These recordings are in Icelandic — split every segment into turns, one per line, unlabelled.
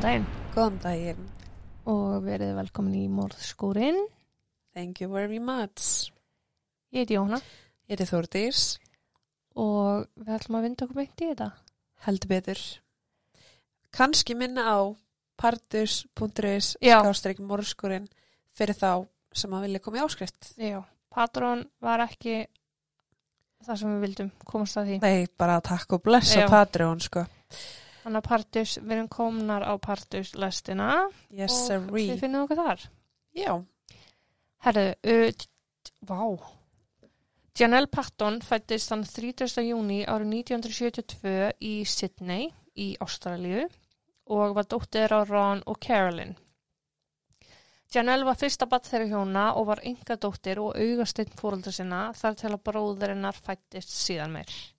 daginn
Góðan daginn.
og verið velkomin í morðskúrin.
Thank you very much.
Ég heiti Jóhanna
Ég er Þórdís.
og við ætlum að vinda okkur beint í þetta.
Heldur betur. Kanski minna á partus.is
Já.
skástrík morskurinn fyrir þá sem að vilja koma í áskrift.
Já, Patron var ekki það sem við vildum komast að því.
Nei, bara takk og blessa
Já.
Patreon, sko.
Þannig að partus, við erum komnar á partus lestina
Yes,
og við
sirree.
finnum okkur þar.
Já,
Herðu, uh, t- t- vá. Janelle Patton fættist þann 30. júni árið 1972 í Sydney í Ástralíu og var dóttir á Ron og Carolyn. Janelle var fyrsta batt þeirra hjóna og var ynga dóttir og augastinn fóröldra sinna þar til að bróðurinnar fættist síðan meir.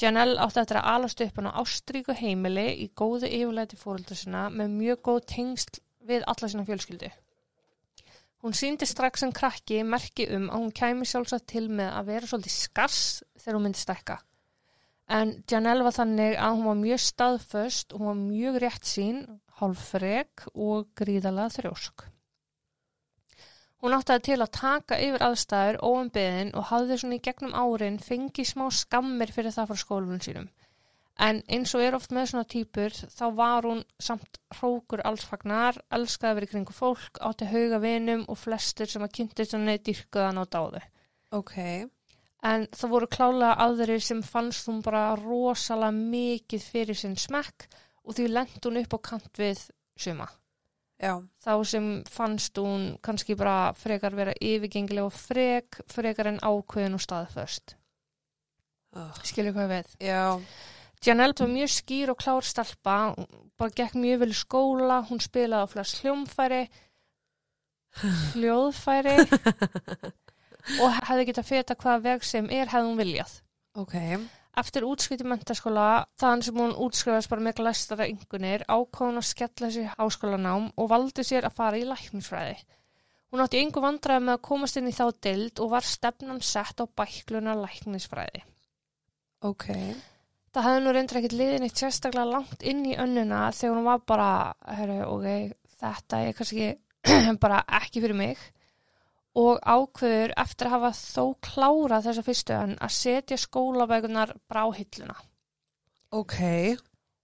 Janelle átti eftir að alast upp hann á ástríku heimili í góðu yfirleiti fóröldra sinna með mjög góð tengsl við alla sína fjölskyldu. Hún síndi strax sem krakki merki um að hún kæmi sjálfsagt til með að vera svolítið skars þegar hún myndi stekka. En Janelle var þannig að hún var mjög staðföst, hún var mjög rétt sín, hálffrek og gríðalega þrjósk. Hún áttaði til að taka yfir aðstæður óanbeðin og hafði svona í gegnum árin fengið smá skammir fyrir það frá skólunum sínum. En eins og er oft með svona týpur þá var hún samt hrókur allsfagnar, elskaði að vera í kringu fólk, átti hauga vinum og flestir sem að kynntist henni dyrkaðan á dáðu.
ok.
En það voru klálega aðrir sem fannst hún bara rosalega mikið fyrir sinn smekk og því lent hún upp á kant við suma.
Já,
Þá sem fannst hún kannski bara frekar vera yfirgengileg og frek, frekar en ákveðin og staðföst.
oh.
Skilur hvað ég við?
já,
Janelle var mjög skýr og klár stelpa, hún bara gekk mjög vel í skóla, hún spilaði á flest hljómfæri, hljóðfæri og hefði getað feta hvaða veg sem er hefði hún viljað.
ok.
Eftir útskrift í mentaskóla, þaðan sem hún útskrifast bara með glæstara yngunir, ákváðun að skella sér háskólanám og valdi sér að fara í læknisfræði. Hún átti yngu vandræði með að komast inn í þá dild og var stefnan sett á bækluna læknisfræði.
Ok,
Það hefði nú reyndir ekkert liðin eitt sérstaklega langt inn í önnuna þegar hún var bara, herru, ok, þetta er kannski bara ekki fyrir mig og ákveður eftir að hafa þó klárað þessa fyrstu önn að setja skólabækunar brá hilluna.
ok,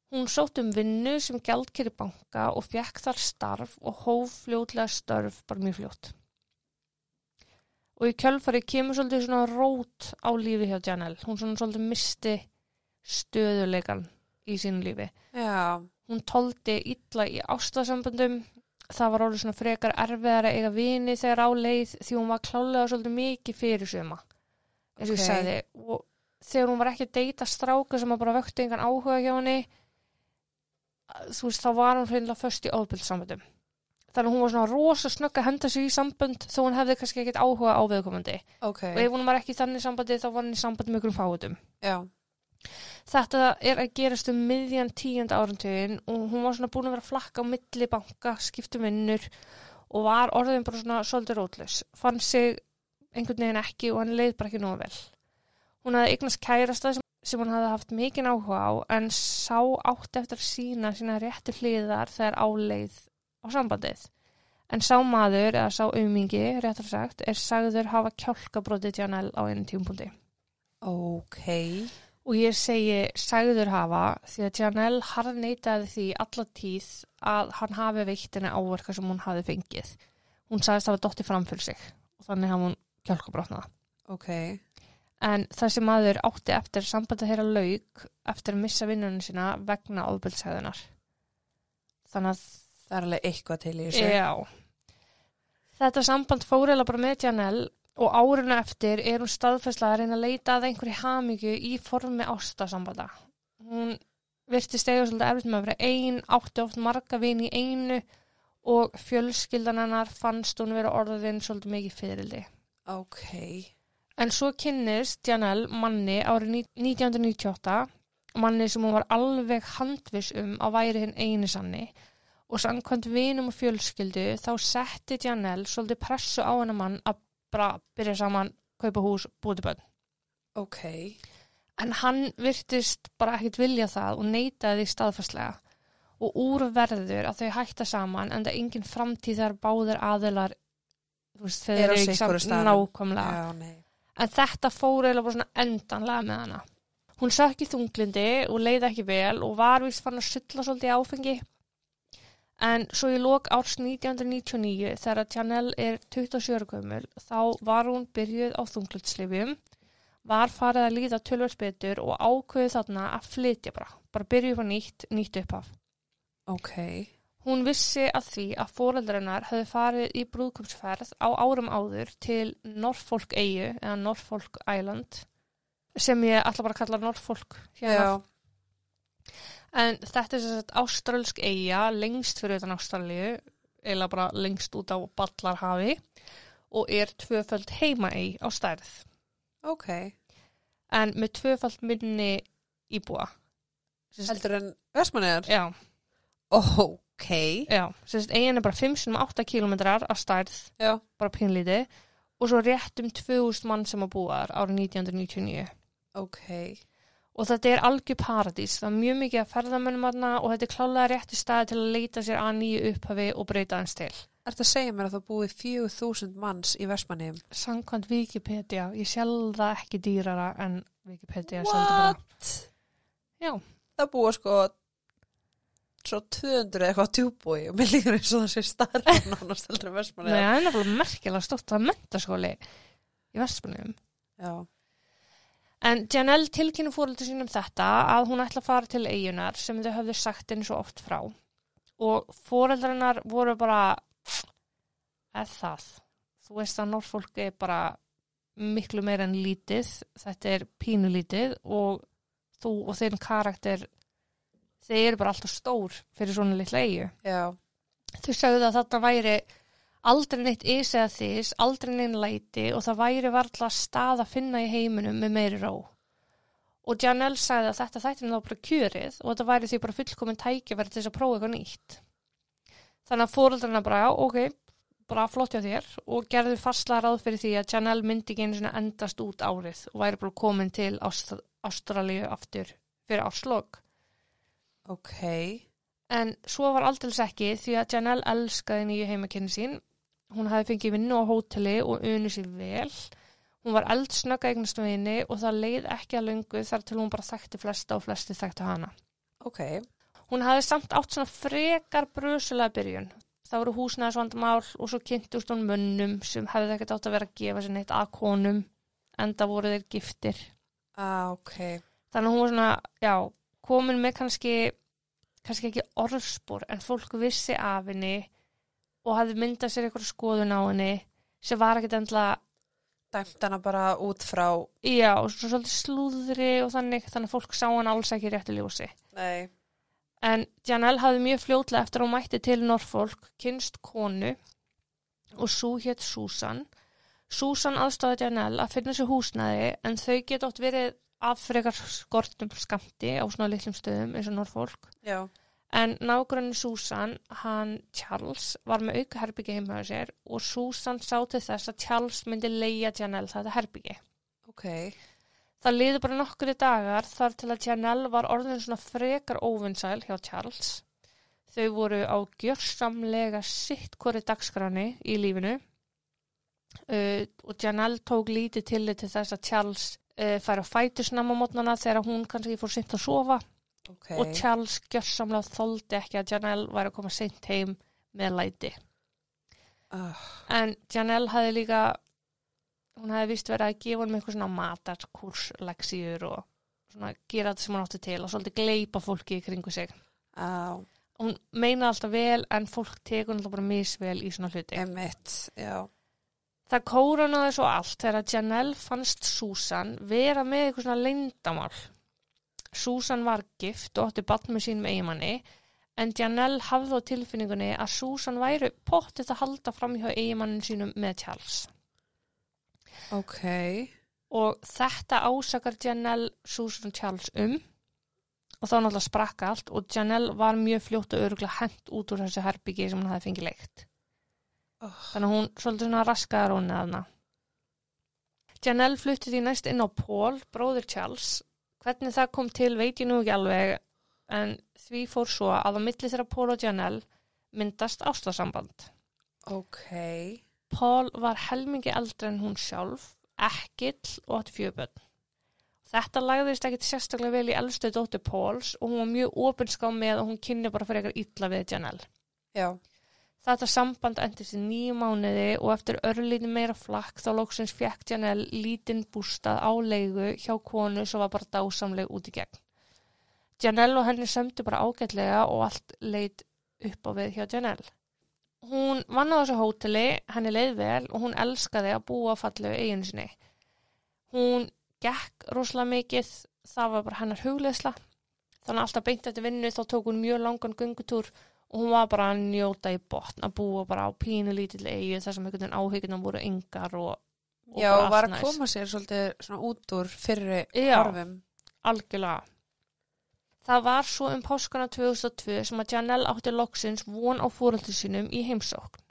Hún sótt um vinnu sem gjaldkeri banka og fekk þar starf og hóf fljótlega störf bara mjög fljótt. Og í kjölfari kemur svolítið svona rót á lífi hjá Janelle. Hún svona svolítið misti stöðuleikan í sínu lífi.
já,
Hún tóldi illa í ástasamböndum. Það var orðið svona frekar erfiðar að eiga vini þegar á leið því hún var klálega svolítið mikið fyrir suma. Eins og
Ok.
ég sagði. Og þegar hún var ekki að deyta stráka sem að bara vöktu engan áhuga hjá henni, þú veist, þá var hún hreinlega först í ofbildssamböndum. Þannig að hún var svona rosa snögg að henda sig í sambönd þó hún hefði kannski ekkit áhuga á viðkomandi.
ok,
Og ef hún var ekki í þannig sambandi þá var hún í sambandi með ykkur fáutum.
já,
Þetta er að gerast um miðjan tíund árantugin og hún var svona búin að vera að flakka á milli banka, skiptum vinnur og var orðin bara svona svolítið rótlaus. Fann sig einhvern veginn ekki og hann leið bara ekki nógu vel. Hún hafði eignast kærasta sem, sem hún hafði haft mikinn áhuga á en sá átt eftir að sína sína réttu hliðar þegar áleið á sambandið. En sá maður, eða sá aumingi, réttar sagt, er sagður hafa kjálkabrótið Janelle á einu tímpúndi.
ok,
Og ég segi sagður hafa því að Janelle harneitaði því alla tíð að hann hafi veitt henni áverka sem hún hafi fengið. Hún sagðist hafa dotti fram fyrir sig og þannig hafa hún kjálkabrotnaða.
ok,
En þessi maður átti eftir sambandi þeirra lauk eftir að missa vinnunum sína vegna ofbeldsæðunar. Þannig að
það er alveg eitthvað til í þessu.
Já. Þetta samband fór eða bara með Janelle og árinu eftir er hún staðfæslega að reyna að leita að einhverju hamingju í formi ástasambanda. Hún virtist eiga svolítið erfitt með að vera ein, átti oft marga vini í einu og fjölskyldan hennar fannst hún vera orðin svolítið mikið fyrirldi.
Ok,
En svo kynnist Janelle manni árið ní- 1998, manni sem hún var alveg handvis um að væri hinn eini sanni og samkvæmt vinum og fjölskyldu þá setti Janelle svolítið pressu á hennar mann að bara byrja saman, kaupa hús, búti bönn.
ok,
En hann virtist bara ekkit vilja það og neytaði því staðfærslega. og úr verður að þau hætta saman en það er engin framtíð þegar báðir aðilar þú veist, þeir
Eru á
eru ekki
sitt hvoru
saman
staðnum.
nákvæmlega
Já, nei.
en þetta fór eiginlega bara svona endanlega með hana. Hún sökk í þunglindi og leið ekki vel og var vist fann að sulla svolítið í áfengi en svo í lok árs 1999 þegar að Janelle er 27 ára gömul þá var hún byrjuð á þunglindslifjum var farið að líða tölvöld betur og ákveði þarna að flytja bara, bara byrjuð upp á nýtt, nýtt upphaf.
Ok.
Hún vissi að því að fóreldarinnar höfðu farið í brúðkumsferð á árum áður til Norfolk Eyju eða Norfolk Island sem ég ætla bara að kalla Norfolk hérna.
Já.
En þetta er sem sagt ástralsk eyja lengst fyrir utan Ástralíu eða bara lengst út á Ballarhafi og er tvöföld heima ei á stærð
Ok.
en með tvöföld minni íbúa. Sem sagt-
Heldur en versmanniðar?
Já.
Ok.
Já, sérst eigin er bara 5,8 km að stærð,
Já.
bara pínlítið og svo rétt um 2000 mann sem að búa þar árið 1999
Ok.
og þetta er algjör paradís, það er mjög mikið að ferðamönnum aðna og þetta er klálega rétti staði til að leita sér að nýju upphafi og breyta hans til
Ertu að segja mér að það búið 4000 manns í versmanniðum?
Samkvæmt Wikipedia, ég sjálf það ekki dýrara en Wikipedia seldi bara. Já.
Það búið sko svo 200 eða eitthvað djúbúi og mér líkur eins og það sé starra nánast heldur en
Nei,
versmanniðar.
það er náttúrulega merkilega stótt að mentaskóli í Vespunum
Já.
En Janelle tilkynni fóröldur sínum um þetta að hún ætla að fara til eigunar sem þau höfðu sagt henni svo oft frá. Og fóröldarinnar voru bara, eða það, þú veist að Norfolk er bara miklu meira en lítið, þetta er pínulítið og þú og þinn karakter, þeir eru bara alltaf stór fyrir svona litla eigu.
Já.
Þau sagðu að þetta væri aldrei neitt ís eða þís, aldrei neinn læti og það væri varla stað að finna í heiminum með meiri ró. Og Janelle sagði að þetta þætti henni þá bara kjörið og þetta væri því bara fullkomin tækifæri til þess að prófa eitthvað nýtt. Þannig að fóreldrarna bara, já, ok, bara flott hjá þér og gerðu fastlega ráð fyrir því að Janelle myndi ekki einu svona endast út árið og væri bara komin til Ást Ástralíu aftur fyrir áslokk.
Ok.
En svo var aldils ekki því að Janelle elskaði nýju heimakinni sín. Hún hafði fengið vinnu á hóteli og unu sér vel. Hún var eldsnögg að eignast vinni og það leið ekki að löngu þar til hún bara þekkti flesta og flesti þekkti hana.
Ok.
Hún hafði samt átt svona frekar brusulega byrjun. Það voru húsnæðisvandamál og svo kynntust hún mönnum sem hefði ekkert átt að vera að gefa sér neitt að konum enda voru þeir giftir.
Ah, ok.
Þannig að hún var svona, já, komin með kannski, kannski ekki orðspor, en fólk vissi af henni og hafði myndað sér eitthvað skoðun á henni sem var ekkit endla,
Dæmt hana bara út frá
já, og svo svolítið slúðri og þannig, þannig að fólk sá hann alls ekki í réttu ljósi.
Nei.
En Janelle hafði mjög fljótlega eftir að hún mætti til Norfolk, kynst konu og svo hétt Susan. Susan aðstofði Janelle að finna sér húsnæði en þau get oft verið af frekar skortum skamti á svona litlum stöðum eins og Norfolk.
Já.
En nágrunni Susan, hann Charles, var með auka herbyggi heima á sér og Susan sá til þess að Charles myndi leia Janelle þetta herbyggi.
Ok.
Það liði bara nokkri dagar þar til að Janelle var orðin svona frekar óvinnsæl hjá Charles. Þau voru á gjörsamlega sitt hvori dagskráni í lífinu uh, og Janelle tók lítið tillit til þess að Charles uh, fær á fætusnam á mótnana þegar hún kannski fór sint að sofa
Ok.
og Charles gjörsamlega þóldi ekki að Janelle var að koma seint heim með læti.
Ah,
En Janelle hafði líka, hún hafði vist verið að gefa hann með eitthvað svona matarkurs, leksíur og svona gera þetta sem hann átti til og svolítið gleipa fólki í kringu sig.
á,
Hún meina alltaf vel en fólk tekur alltaf bara misvel í svona hluti.
emitt, já.
Það kórunaði svo allt þegar að Janelle fannst Susan vera með eitthvað svona leyndamál. Susan var gift og átti bann með sínum eigimanni en Janelle hafði á tilfinningunni að Susan væri pottið að halda fram hjá eigimannin sínum með Charles.
Ok.
Og þetta ásakar Janelle Susan Charles um og þá náttúrulega sprakka allt og Janelle var mjög fljótt og öruglega hent út úr þessu herbyggi sem hún hafði fengið leikt.
Oh,
Þannig að hún svolítið svona raskaðar hún eðna. Janelle fluttið því næst inn á Paul, bróður Charles. Hvernig það kom til veit ég nú ekki alveg en því fór svo að á milli þeirra Paul og Janelle myndast ástasamband.
Ok.
Paul var helmingi eldri en hún sjálf, ekkill og átti fjöbönn. Þetta lagðist ekkit sérstaklega vel í elstu dóttu Pauls og hún var mjög opinská með að hún kynni bara fyrir eitthvað illa við Janelle.
Já.
Þetta samband endist í nýju mánuði og eftir örlítið meira flakk þá lóksins fekk Janelle lítinn bústað á leigu hjá konu sem var bara dásamleg út í gegn. Janelle og henni sömdu bara ágætlega og allt leit upp á við hjá Janelle. Hún vann á þessu hóteli, henni leið vel og hún elskaði að búa fallegu eiginu sinni. Hún gekk rosalega mikið, það var bara hennar hugleðsla. Þannig að alltaf beint eftir vinnu þá tók hún mjög langan göngutúr og hún var bara að njóta í botn að búa bara á pínu lítill eigi þar sem einhvern veginn áhyggjunum voru yngar og, og
Já,
bara
og
allt
var að
næs.
koma sér svolítið svona út úr fyrri
Já.
horfum.
algjörlega Það var svo um páskana 2002 sem að Janelle átti loksins von á fóröldu sínum í heimsókn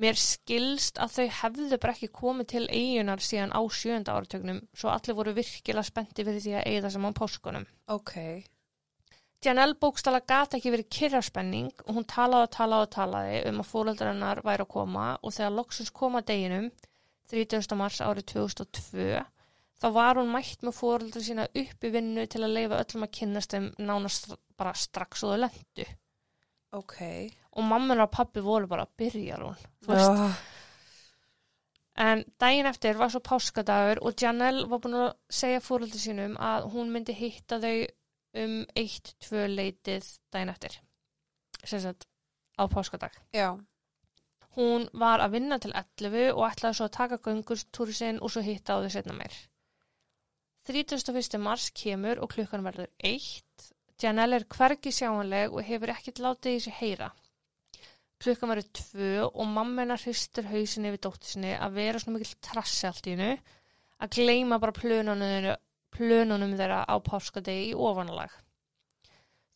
Mér skilst að þau hefðu bara ekki komið til eigunar síðan á sjönda áratögnum svo allir voru virkilega spennti fyrir því að eiga það saman á páskunum
Ok.
Janelle bókstala gata ekki verið kyrraspenning og hún talaði og talaði og talaði um að fóröldar hennar væri að koma og þegar loksins koma deginum 30. mars árið 2002 þá var hún mætt með fóröldar sína upp í vinnu til að leifa öllum að kynnast þeim nánast bara strax og þau lendu
Ok.
og mamman og pappi voru bara að byrja hún þú veist.
Já.
en daginn eftir var svo páskadagur og Janelle var búin að segja fóröldar sínum að hún myndi hitta þau um 1-2 leitið daginn eftir sem sagt á páskadag
Já.
Hún var að vinna til 11 og ætlaði svo að taka göngustúri sinn og svo hitta á þau setna meir. 31. mars kemur og klukkan verður 1. Janelle er hvergi sjáanleg og hefur ekkert látið í sig heyra. Klukkan verður 2 og mamma hennar hristur hausin yfir dóttur sinni að vera svona mikill trassi allt í hennu að gleyma bara plönunum, plönunum þeirra á páskadegi í ofanalag.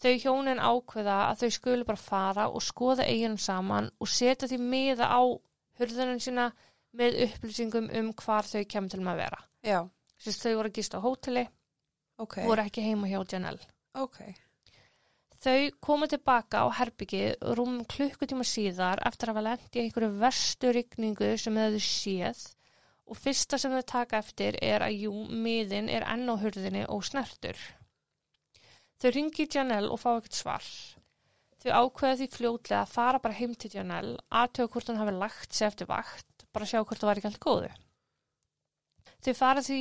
Þau hjónin ákveða að þau skulu bara fara og skoða eiginum saman og setja því miða á hurðunum sína með upplýsingum um hvar þau kemur til með að vera.
Já.
Sérst þau voru að gista á hóteli,
Ok.
voru ekki heima hjá Janelle.
Ok.
Þau koma tilbaka á herbyggið rúmum klukkutíma síðar eftir að hafa lent í einhverju verstu rigningu sem þau hefðu séð og fyrsta sem þau taka eftir er að jú, miðin er enn á hurðinni og snertur. Þau ringi Janelle og fá ekkert svar. Þau ákveða því fljótlega að fara bara heim til Janelle, aðtöga hvort hún hafi lagt sig eftir vakt, bara sjá hvort það var ekki allt í góðu. Þau fara því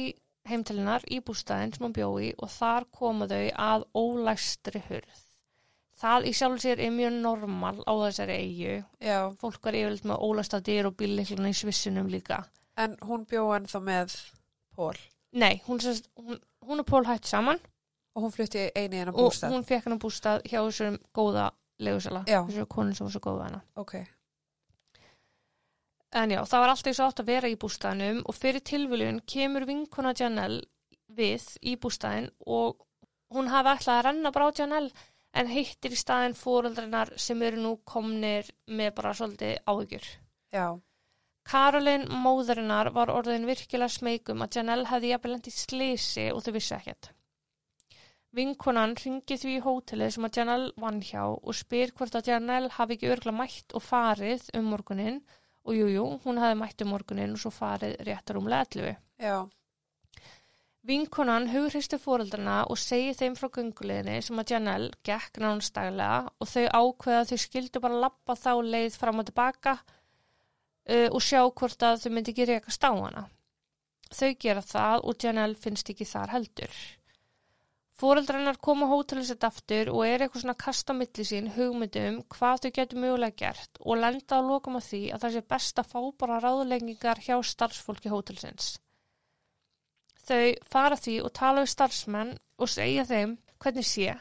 heim til hennar í bústæðin sem hún bjói og þar koma þau að ólæstri hurð. Það í sjálf sér er mjög normal á þessari eigu.
Já.
Fólk var yfirleitt með ólasta dyr og bíllikluna í svissinum líka.
En hún bjóð ennþá með Pól.
Nei, hún, sérst, hún, hún og Pól hætt saman
Og hún flutti eini hennar
og
bústað.
hún fekk hennar bústað hjá þessum góða legusala.
Já.
Þessum konun sem var svo góða hana.
Ok.
En já, það var alltaf eins og átt að vera í bústæðinum og fyrir tilviljun kemur vinkona Janelle við í bústæðin og hún hafi ætlað að renna bara á Janelle en hittir í staðin fóröldrennar sem eru nú komnir með bara svolítið áhyggjur.
Já.
Karolin móðurinnar var orðin virkilega smeykum að Janelle hefði jafnvel lent í slisi og þau vissi ekkert. Vinkonan ringi því í hótelið sem að Janelle vann hjá og spyr hvort að Janelle hafi ekki örgla mætt og farið um morgunin og jújú, jú, hún hefði mætt um morgunin og svo farið réttar um leðlufi.
Já.
Vinkonan hugristi fóreldrana og segi þeim frá gönguleginni sem að Janelle gekk nánstaglega og þau ákveða að þau skildu bara lappa þá leið fram og tilbaka uh, og sjá hvort að þau myndi ekki rekast á hana. Þau gera það og Janelle finnst ekki þar heldur. Fóreldrarnar koma hótelið sitt aftur og er eitthvað svona að kasta á milli sín hugmyndum hvað þau getur mögulega gert og lenda að lokum að því að það sé best að fá bara ráðleggingar hjá starfsfólki hótelsins. Þau fara því og tala við starfsmenn og segja þeim hvernig sé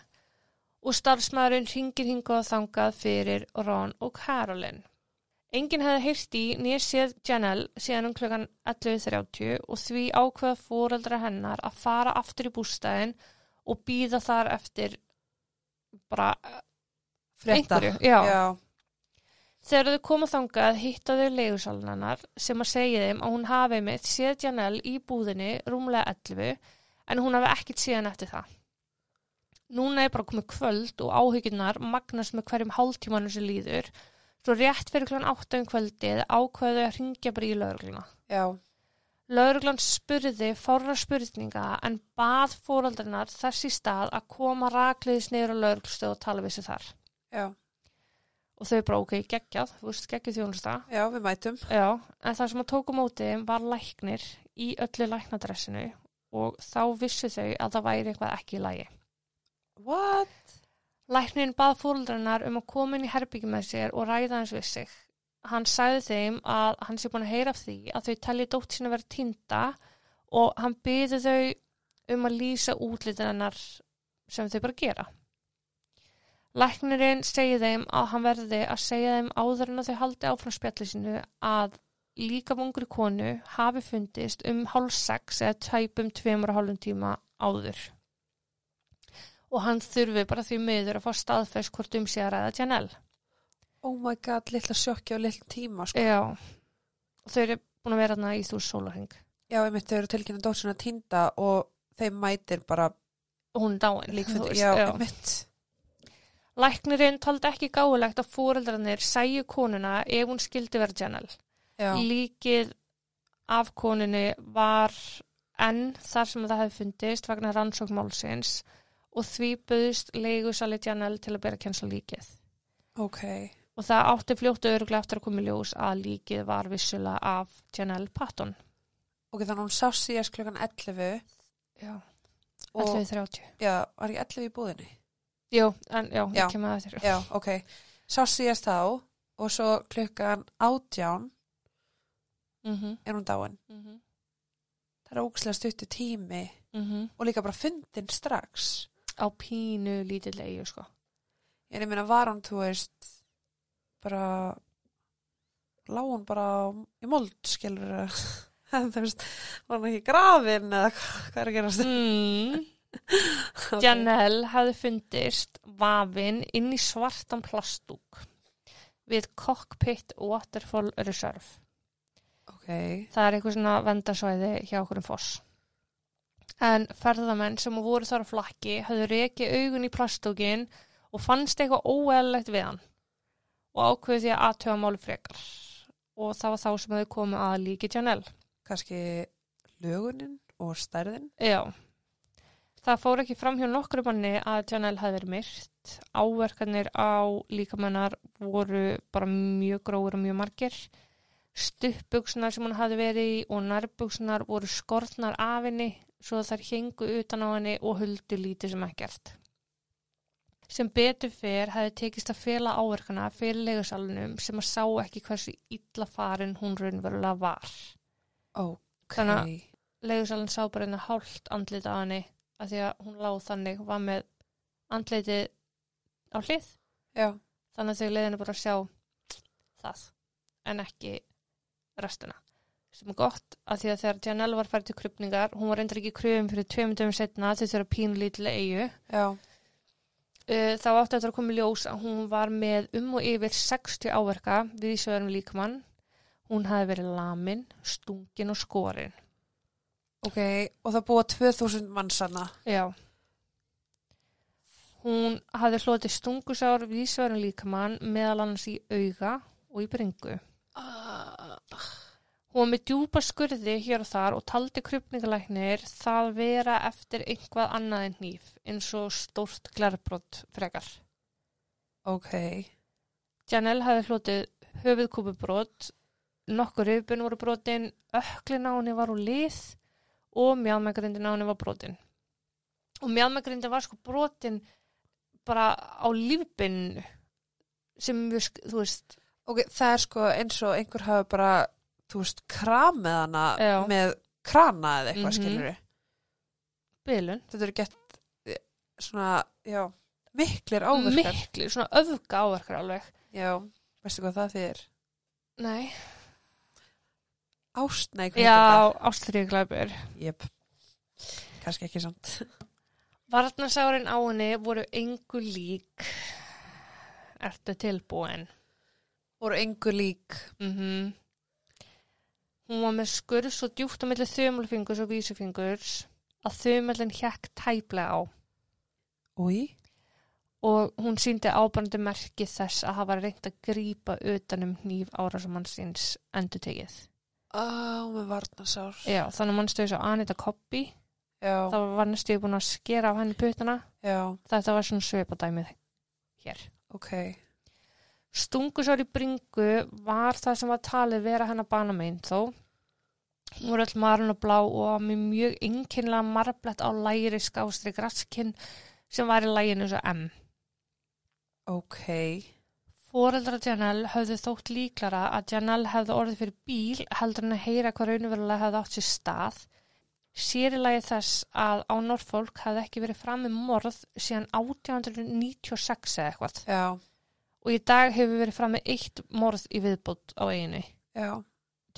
og starfsmæðurinn ringir hingað og þangað fyrir Ron og Karolin. Enginn hefði heyrt í nýr séð Janelle síðan um klukkan 11.30 og því ákveða fóreldra hennar að fara aftur í bústæðin og býða þar eftir bara
Frétta.
einhverju. Já.
Já.
Þegar þau koma þangað hitta þau leigusalunarnar sem að segja þeim að hún hafi mitt séð Janelle í búðinni rúmlega 11 en hún hafi ekkit síðan eftir það. Núna er bara komið kvöld og áhyggjurnar magnast með hverjum hálftímanum sem líður. Svo rétt fyrir klán áttum kvöldið ákveðu þau að ringja bara í lögregluna.
já,
Lauruglan spurði fórra spurninga en bað fóraldarinnar þess í stað að koma rakliðis niður á lauruglustu og tala við sér þar.
já,
Og þau bara ok, geggjað, þú veist, geggjuð þjónusta.
já, við mætum
Já, en það sem að tóku mótið var læknir í öllu læknadressinu og þá vissu þau að það væri eitthvað ekki í lagi.
What?
Læknin bað fóruldarinnar um að koma inn í herbyggjum með sér og ræða hans við sig. Hann sagði þeim að hann sé búin að heyra af því að þau telji dótt sína verið týnda og hann byði þau um að lýsa útlitin hennar sem þau bara gera. Læknirinn segi þeim að hann verði að segja þeim áður en að þau haldi áfram spjalli sínu að líka vungri konu hafi fundist um hálf sex eða tæpum tveimur og hálfum tíma áður og hann þurfi bara því miður að fá staðfest hvort um sé að ræða Janelle.
Oh my god, litla sjokki á litla tíma sko.
Já, og þau eru búin að vera þarna í þú sólarheng
Já, ég myndi þau eru tilkynna dótsina týnda og þeim mætir bara
og hún er dáin. þú
líkfund
veist,
Já, ég mynd
Læknirinn taldi ekki gáulegt að fóreldrarnir sæju konuna ef hún skildi vera Janelle.
Já,
Líkið af konunni var enn þar sem það hefði fundist vegna rannsókn málsins og því buðist leigusali Janelle til að bera kennsla líkið.
ok
Og það átti fljóttu öruglega eftir að koma í ljós að líkið var vissulega af Janelle Patton.
Ok, þannig að hún sá síðast klukkan 11
Já.
og
11.30
já, var ég 11 í búðinni?
Jú, en já,
Já.
ég kem að þetta
Já, ok. Sá síðast þá og svo klukkan 18
mm -hmm,
er hún dáin.
mm -hmm,
Það er ógæslega stuttu tími
mhm.
og líka bara fundin strax.
Á pínu lítill eigu sko
En ég meina var hún, þú veist, bara, lá hún bara á- í mold, skilur það. þú veist, var hún ekki grafin eða hva- hvað er að gerast?
mm. Janelle hafði fundist vafin inn í svartan plastúk við Cockpit Waterfall Reserve
Ok,
Það er eitthvað svona vendasvæði hjá okkur um foss. En ferðamenn sem voru þar á flakki hafðu rekið augun í plastúkin og fannst eitthvað óeðlegt við hann og ákveðu því að aðtöga máli frekar. Og það var þá sem hafðu komið að líki Janelle.
kannski lögunin og stærðin.
Já. Það fór ekki fram hjá nokkru manni að Janelle hafði verið myrt. Áverkanir á líkamennar voru bara mjög gróður og mjög margir. Stuppbuksunar sem hún hafði verið í og nærbuksunar voru skortnar af henni svo að þær hengu utan á henni og huldu lítið sem ekkert. Sem betur fyrr hafði tekist að fela áverkana fyrir legasalunum sem að sá ekki hversu illa farin hún raunverulega var
Ok.
Þannig að- leigursalinn sá bara hérna hálft andlit á henni af því að hún láð þannig var með andlitið á hlið
Já,
þannig að þau leiðinu bara að sjá það en ekki restina sem er gott af því að þegar Janelle var færi til krupningar hún var reyndar ekki í kröfum fyrir tveimur dögum setna þau þurfa pínlítlega eigu
já,
Uh, þá átti eftir að koma í ljós að hún var með um og yfir 60 áverka við Ísjöðurum líkamann. Hún hafi verið lamin, stungin og skorin.
ok. Og það búa 2000 mannsana.
Já. Hún hafði hlotið stungusár vísverðin líkamann meðal annars í auga og í bringu.
Ah.
Hún var með djúpa skurði hér og þar og taldi krupningalæknir það vera eftir einhvað annað en hníf eins og stórt glerbrot frekar.
Ok.
Janelle hafði hlotið höfuðkúpubrot, nokkur röfbun voru brotin, öklin á henni var úr lið og mjálmagrindin á henni var brotin. Og mjálmagrindin var sko brotin bara á lífbinnu sem, mjög sk- þú veist,
Ok, það er sko eins og einhver hafa bara, þú veist, kramið hana
Já.
með krana eða eitthvað, mm
Mhm. bylun.
Þetta eru gett eh, svona, já, miklir áverkar.
Miklu, svona öfga áverkar alveg.
Já, veistu hvað það þýðir?
Nei.
Ástneik.
Já, ástriði glæpur.
Jep, kannski ekki samt.
Varnasárin á henni voru engu lík. Ertu tilbúin?
Voru engu lík.
-hmm. Hún var með skurð svo djúpt á milli þumulfingurs og vísufingurs að þumulin hjekk tæplega á.
Úi,
og hún síndi ábærandi merki þess að hafa reynt að grípa um utanum nýf árásamannsins endutegið.
á, með varnasár.
Já, þannig mannstu þess að Anita Coppi,
Já,
þá var næstu búin að skera á henni putana,
já,
þetta var svona svipadæmið hér.
ok.
Stungusár í bringu var það sem var talið vera hennar banamein þó. Hún var öll marun og blá og með mjög einkennilega marblett á læri skástri graskinn sem var í læginu eins og M.
Ok.
Fóreldrar Janelle höfðu þótt líklara að Janelle hefðu orðið fyrir bíl heldur en að heyra hvað raunverulega hefði átt sér stað. Sér í lagi þess að á Norfolk hefði ekki verið fram með morð síðan 1896 eða eitthvað
Já,
og í dag hefur verið fram með eitt morð í viðbútt á eiginu,
já,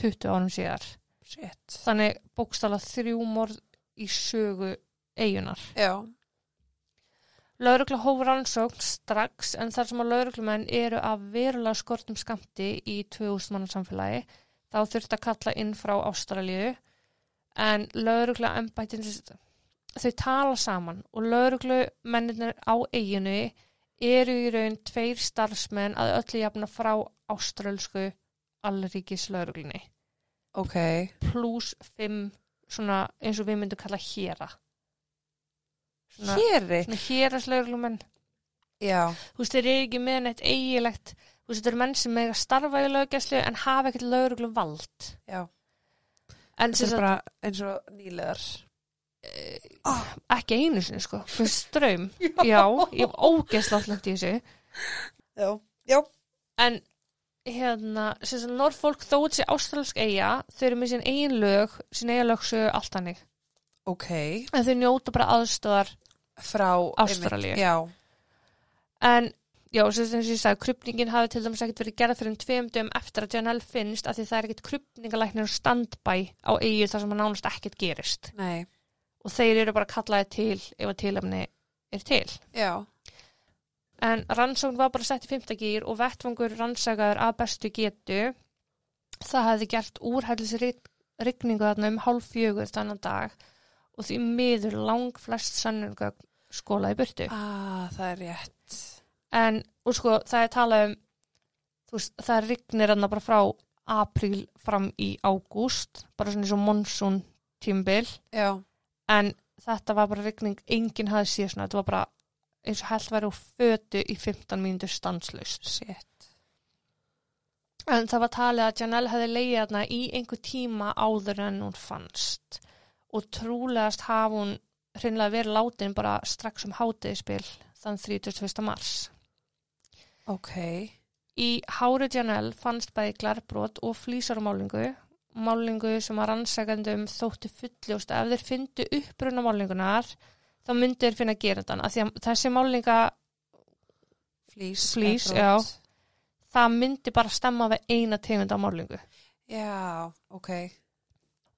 20 árum síðar.
shit.
Þannig bókstala þrjú morð í sögu eigunar.
Já,
Laurugla hóf rannsókn strax en þar sem að lauruglumenn eru af verulega skortum skamti í 2000 manna samfélagi þá þurfti að kalla inn frá Ástralíu en laurugla embættin þau tala saman og lauruglumenninir á eiginu eru í raun tveir starfsmenn að öllu jafna frá ástralsku allríkis lauruglunni
ok.
pluss fimm svona eins og við myndum kalla héra svona,
Héri?
svona héraslauruglumenn
Já,
þú veist, þeir eru ekki með neitt eigilegt þú veist, þetta eru menn sem eiga að starfa í löggæslu en hafa ekkert lögreglu vald
já.
en
Þetta
sem
er
sagt,
bara eins og nýlegar.
ekki einu sinni sko Þú veist, ströym, já, ég hef ógeðsla allant í þessu,
Já, já.
en hérna, sem sagt, Norfolk þótt sé ástralsk eiga, þau eru með sín eigin lög, sín eigin lögsögu, allt hannig
Ok.
en þau njóta bara aðstöðar
Frá
Ástralíu.
einmitt, Já,
en Já, sem sem ég sagði, krupningin hafi til dæmis ekkert verið gerð fyrir um tveim dögum eftir að Janelle finnst að því það er ekkert krupningalæknir og standbæ á eigi þar sem hann nánast ekkert gerist.
nei.
og þeir eru bara kallaði til ef að tilefni er til.
Já,
En rannsókn var bara sett í fymtagýr og vettvangur rannsakaður að bestu getu. Það hefði gert úrhællis rigningu þarna um hálf fjögur þannan dag og því miður lang flest sannurgögn skóla í burtu.
ah, það er rétt.
En, og sko, það er talað um, þú veist, það rignir hann bara frá apríl fram í ágúst, bara svona eins og monsún tímbil.
Já,
en þetta var bara rigning, enginn hafði séð svona, þetta var bara eins og held væri úr fötu í 15 mínútur stanslaust.
shit.
En það var talið að Janelle hefði leiðið hana í einhver tíma áður en hún fannst og trúlegast hafi hún hreinlega verið látin bara strax um hátiðspil þann 31. mars.
Ok.
Í hári Janelle fannst bæði glarbrot og flýsarmálingu, málingu sem að rannsakandum þótti fulljóst að ef þeir fyndu uppruna málingunar þá myndu þeir finna gerandan af því að þessi málinga,
Flýs.
Flís,
eða brot.
það myndi bara stemma við eina tegunda málingu.
Já, ok.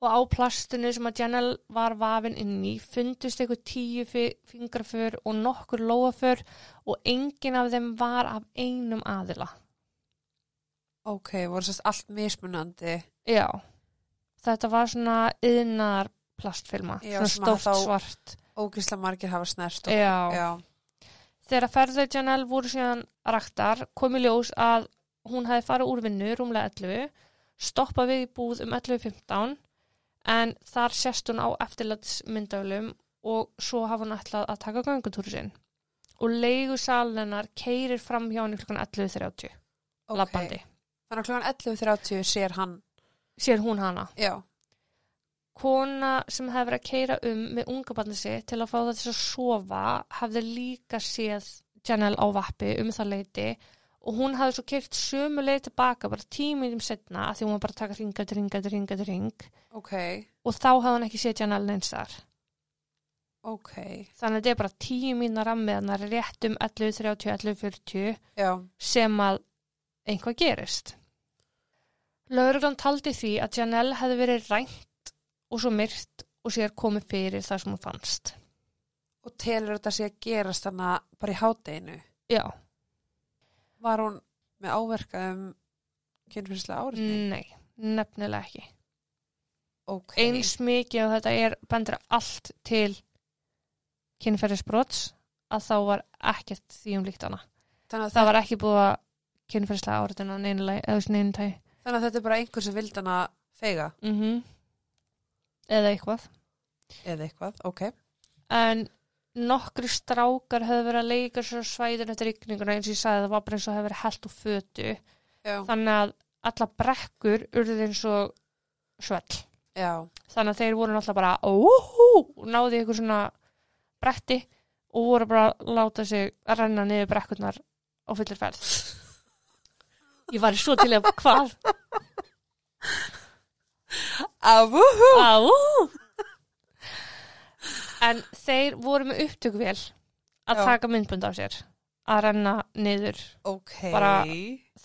Og á plastinu sem að Janelle var vafin inn í fundust einhver tíu fi- fingraför og nokkur lóaför og engin af þeim var af einum aðila.
Ok, voru sérst allt mismunandi.
Já, þetta var svona yðnar plastfilma,
Já,
svona
sem að
stórt
þá-
svart.
Ógislega margir hafa snert. Og...
Já.
Já,
Þegar ferðið Janelle voru síðan raktar, kom í ljós að hún hefði farið úr vinnu rúmlega 11, stoppað við í búð um 11.15 en þar sérst hún á eftirlatsmyndavlum og svo hafa hún ætlað að taka göngutúru sinn. Og leigu salunar keirir fram hjá henni klukkan 11.30,
ok.
labbandi.
Þannig að klukkan 11.30 sér hann.
Sér hún hana.
Já,
Kona sem hefði verið að keira um með unga barni sitt til að fá það til að sofa hafði líka séð Janelle á vappi um það leiti og hún hafði svo keirt sömu leið tilbaka bara tíu mínum setna því hún var bara að taka ringa til ringa til ringa til ring
ok.
og þá hafði hann ekki séð Janelle neins þar.
Ok.
Þannig að þetta er bara tíu mínu rammið hann er rétt um 11.30, 11.40
Já,
sem að einhvað gerist. Lauruglan taldi því að Janelle hefði verið rænt og svo myrt og sér komið fyrir það sem hún fannst.
og telur þetta sé að gerast þannig bara í hátdeinu.
Já,
Var hún með áverka um kynfyrslega árið?
nei, nefnilega ekki.
Ok.
Eins mikið og þetta er bendur allt til kynferðisbrots að þá var ekkert því um líkt hana.
Þannig að,
Það var ekki búið að kynferðslega áriðina neynileg, eða þessi neynintægi.
þannig að þetta er bara einhver sem vildi hana feiga
Mm Eða eitthvað.
eða eitthvað, ok.
En nokkri strákar höfðu verið að leika sér á svæðinu eftir ygninguna eins og ég sagði það var bara eins og hefur verið held úr fötu.
Já,
Þannig að alla brekkur urðu eins og svell.
já,
Þannig að þeir voru náttúrulega bara óhú, náði ykkur svona bretti og voru bara að láta sig renna niður brekkurnar á fullir ferð. Ég var svo til að hvað?
avu,
Á. En þeir voru með upptökuvél að
Já.
taka myndbund af sér að renna niður
ok.
Bara-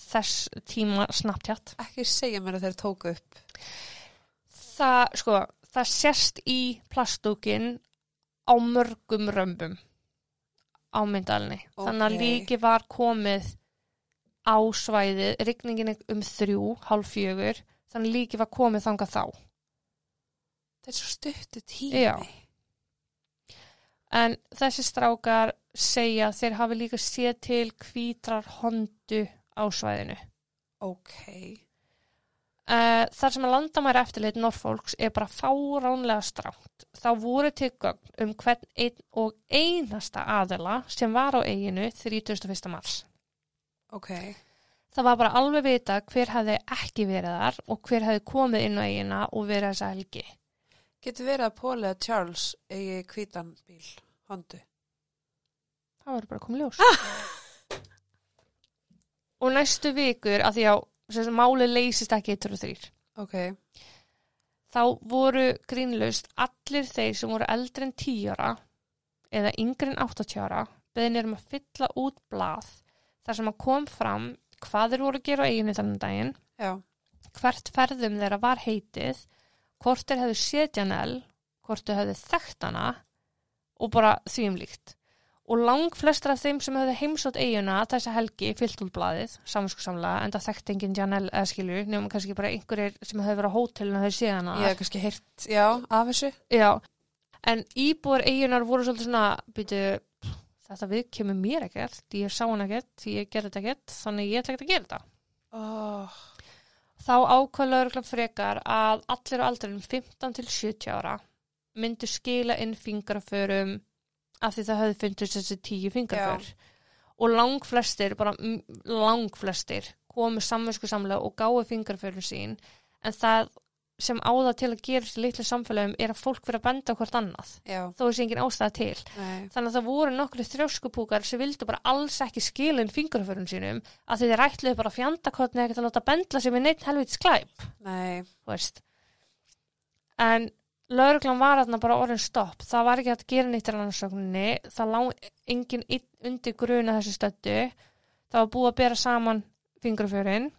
þess tíma snabbtjátt.
Ekki segja mér að þeir tóku upp.
Það, sko, það sérst í plastúkin á mörgum römbum á myndalni. Þannig
Ókei.
að líki var komið á svæðið, rigningin er um þrjú, hálf fjögur, þannig að líki var komið þangað þá.
Þetta er svo stuttu tími.
Já. En þessi strákar segja að þeir hafi líka séð til hvítrar hondu á svæðinu.
Ok.
Uh, þar sem að landamæri eftirlit Norfolks er bara fáránlega stránt. Þá voru tilgögn um hvern einn og einasta aðila sem var á eiginu 31. mars.
Ok.
Það var bara alveg vita hver hefði ekki verið þar og hver hefði komið inn á eigina og verið þessa helgi.
Getur verið að Paul eða Charles eigi hvítan bíl, hondu.
Það verður bara komið ljós. og næstu vikur, að því að sem sagt, málið leysist ekki 1 og 3.
Ok.
þá voru grínlaust allir þeir sem voru eldri en 10 ára eða yngri en 80 ára beðinir um að fylla út blað þar sem að kom fram hvað þeir voru að gera á eiginu þannig daginn,
Já.
hvert ferðum þeirra var heitið, hvort þeir hefðu séð Janel, hvort þeir hefðu þekkt hana og bara því um líkt. Og lang flestra af þeim sem hefðu heimsótt eiguna þessa helgi fyllt út blaðið, samvinskusamlega, en það þekkt enginn Janel eða skilju, nefnum kannski bara einhverjir sem hefðu verið á hótelinu að þau séð hana.
Ég hef kannski heyrt, já, af þessu.
Já, en íbúar eigunar voru svolítið svona, býtu, þetta við kemur mér ekkert, ég sá hann ekkert, ég gerði þetta ekkert, þannig ég ætla ekkert að gera þetta.
Oh.
Þá ákvæðlega örgla frekar að allir á aldrinum 15 til 70 ára myndu skila inn fingraförum af því það höfðu fundist þessi tíu fingraför. Og langflestir, bara m- langflestir, komu samvinsku samlega og gáu fingraförum sín, en það sem áða til að gerast í litlu samfélagum er að fólk verið að benda á hvort annað
Já.
þó er þessi engin ástæða til.
Nei.
Þannig að það voru nokkru þrjóskupúkar sem vildu bara alls ekki skilin fingraförun sínum að þeir ætluðu bara að fjanda hvernig ekkert að láta bendla sem er neitt helvitis glæp,
Nei.
þú veist. En lauruglan var þarna bara orðin stopp. Það var ekki að gera neitt í rannsókninni. Það lág engin einn undir gruna þessu stöldu. Það var búið að bera saman fingraförin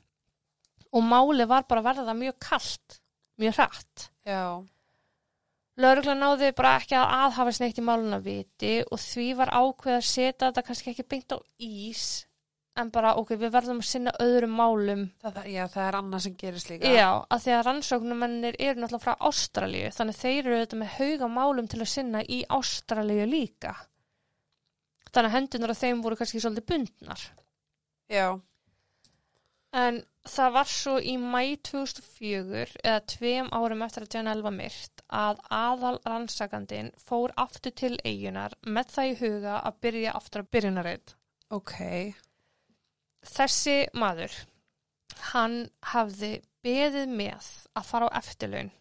og máli var bara að verða mjög kalt, mjög hratt.
Já.
Lörgla náði bara ekki að aðhafa sneitt í máluna viti og því var ákveð að setja þetta kannski ekki beint á ís en bara ok, við verðum að sinna öðrum málum.
Það, það- já, það er annað sem gerist líka.
Já, að því að rannsóknumennir eru náttúrulega frá Ástralíu þannig þeir eru þetta með hauga málum til að sinna í Ástralíu líka. Þannig að hendunar á þeim voru kannski svolítið bundnar.
Já.
En það var svo í mæ 2004 eða tveim árum eftir að Janelle var myrt að aðal rannsakandin fór aftur til eigunar með það í huga að byrja aftur að byrjunarreit.
Ok.
Þessi maður, hann hafði beðið með að fara á eftirlaun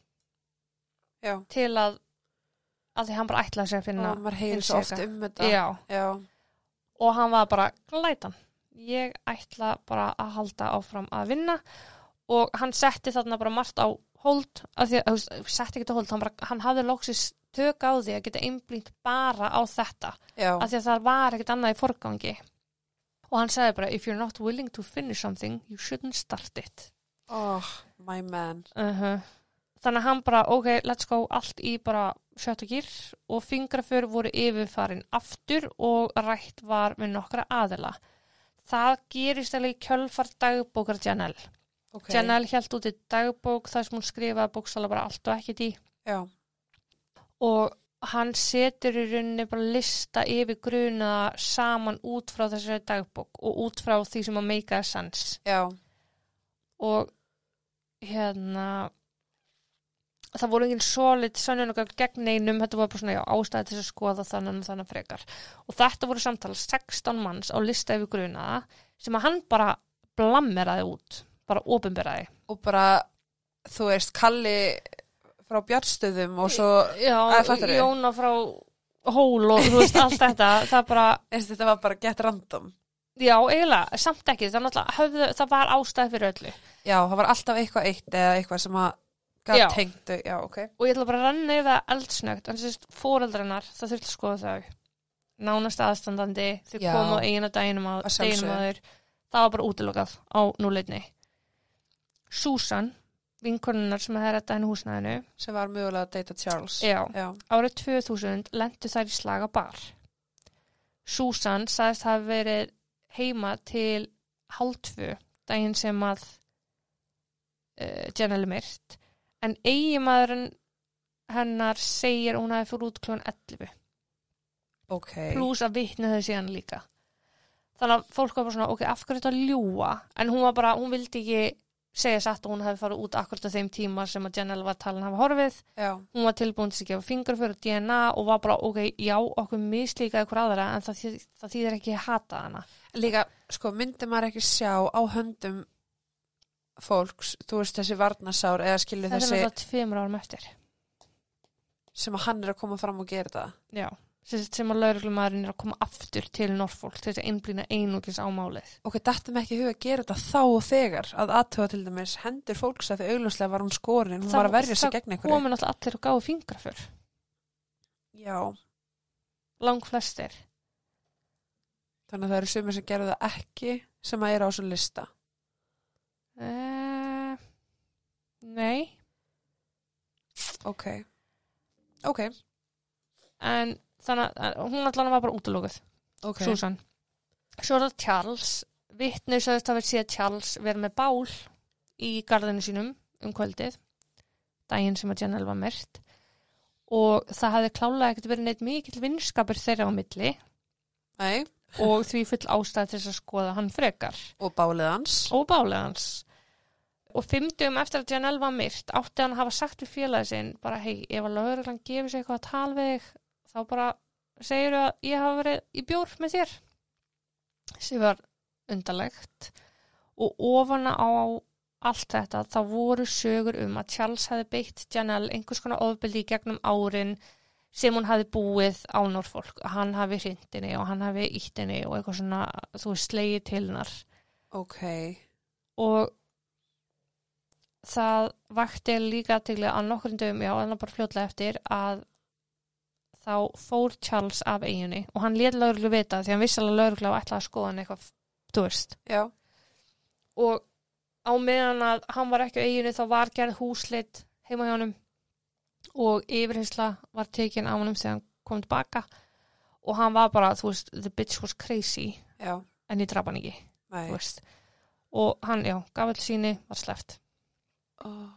Já.
til að, að því hann bara ætlaði sér að finna.
Hérna, Og maður heyrir
finnst
svo
ég
oft
eitthvað.
um þetta.
Já,
Já.
og hann var bara glætan. Ég ætla bara að halda áfram að vinna og hann setti þarna bara margt á hold, af því að þú veist, setti ekki á hold, hann, bara, hann hafði loksis tök á því að geta einblínt bara á þetta,
Já.
af því að það var ekkert annað í forgangi. Og hann sagði bara, if you're not willing to finish something, you shouldn't start it.
Oh, my man.
-huh. Þannig að hann bara, ok, let's go, allt í bara sjötta gýr og fingraför voru yfirfarin aftur og rætt var með nokkra aðila. Það gerist alveg í kjölfar dagbókar Janelle.
Ok.
Janelle hjælt út í dagbók þar sem hún skrifaði bóksala bara allt og ekkert í
Já.
og hann setur í rauninni bara lista yfir grunaða saman út frá þessari dagbók og út frá því sem að meika sans
já,
og hérna það voru engin solid sannunagögn gegn neinum, þetta var bara svona já, ástæði til þess að skoða þannig og þannig frekar og þetta voru samtala 16 manns á lista yfir grunaða sem að hann bara blammeraði út bara opinberaði
og bara þú veist, Kalli frá Bjartstöðum og svo
já,
Æ, fattarðu?
Jóna frá hól og þú veist allt þetta það bara,
eins þetta var bara gett random
já eiginlega, samt ekki það, náttúrulega höfðu, það var ástæði fyrir öllu
já, það var alltaf eitthvað eitt eða eitthvað sem að
Já.
gaf tengdu, já, ok
og ég ætla bara að ranna yfir það eldsnögt en sérst fóreldrarnar, það þurfti að skoða þau nánast aðstandandi þau
Já.
komu á eigin að deginum að,
Að sjálfsögðu.
deginum að þeir það var bara útilokað á núleitni Susan vinkonunnar sem hefði rettað henni í húsnæðinu
sem var mögulega að deyta Charles
já,
já,
árið 2000 lendu þær í slaga bar Susan sagðist hafa verið heima til hálftfu daginn sem að uh, Jenna er myrt en eigimaðurinn hennar segir að hún hafi fyrir út klón 11
ok
pluss að vitna þau síðan líka þannig að fólk var bara svona ok, af hverju þetta ljúa en hún var bara, hún vildi ekki segja satt að hún hafi farið út akkurat á þeim tíma sem að Jenna var talin hafa horfið
já,
hún var tilbúin til að gefa fingraför og DNA og var bara, ok, já, okkur mislíkaði hver aðra en það, þýð, það þýðir ekki að hata hana.
líka, sko, myndi maður ekki sjá á höndum fólks, þú veist þessi varnasár eða skilur
Þetta er
þessi
náttúrulega tveimur árum eftir.
sem að hann er að koma fram og gera það
Já, sem, sem að lauruglumæðurinn er að koma aftur til Norfolk til þess að einblýna einungis á málið.
ok, dættum ekki í hug að gera þetta þá og þegar að aðtöfa til dæmis hendur fólks að þau augljóslega var hún skorin hún
Það-
var að verja sig
það
gegn einhverju
Komin alltaf allir og gáðu fingraför,
já,
lang flestir.
þannig að það eru sumir sem gerðu það ekki sem að eru á þessum lista
Uh, nei,
ok, ok,
en þannig að að hún allan var bara útlókuð.
ok
Susan Svo er það Charles Vittnir sagðist að við sé Charles vera með bál í garðinu sínum um kvöldið daginn sem að Janelle var mert og það hafði klálega ekkert verið neitt mikill vinskapur þeirra á milli
Nei,
og því full ástæð til þess að skoða hann frekar
og bálið hans
og bálið hans og fimm dögum eftir að Janelle var myrt átti hann að hafa sagt við félagið sinn bara hei, ef að lögreglan gefur sér eitthvað að tala við þig þá bara segir að ég hafa verið í bjór með þér sem var undarlegt og ofana á allt þetta þá voru sögur um að Charles hefði beitt Janelle einhvers konar ofbeldi í gegnum árin sem hún hafi búið á Norfolk hann hafi hrindinni og hann hafi íttinni og eitthvað svona, þú veist, slegið til hennar
ok,
og það vakti líka til að nokkurinn dögum, já, en það bara fljótlega eftir að þá fór Charles af eiginni og hann lét lögreglu vita því hann vissi alveg að lögreglu ætlaði að skoða hann eitthvað, þú veist
já
og á meðan að hann var ekki á eiginu þá var gerð húsleitt heima hjá honum og yfirheysla var tekin á honum þegar hann kom tilbaka og hann var bara, þú veist, the bitch was crazy
já,
en ég draf hann ekki,
nei
þú veist og hann, já, gaf alls síni, var sleppt
oh.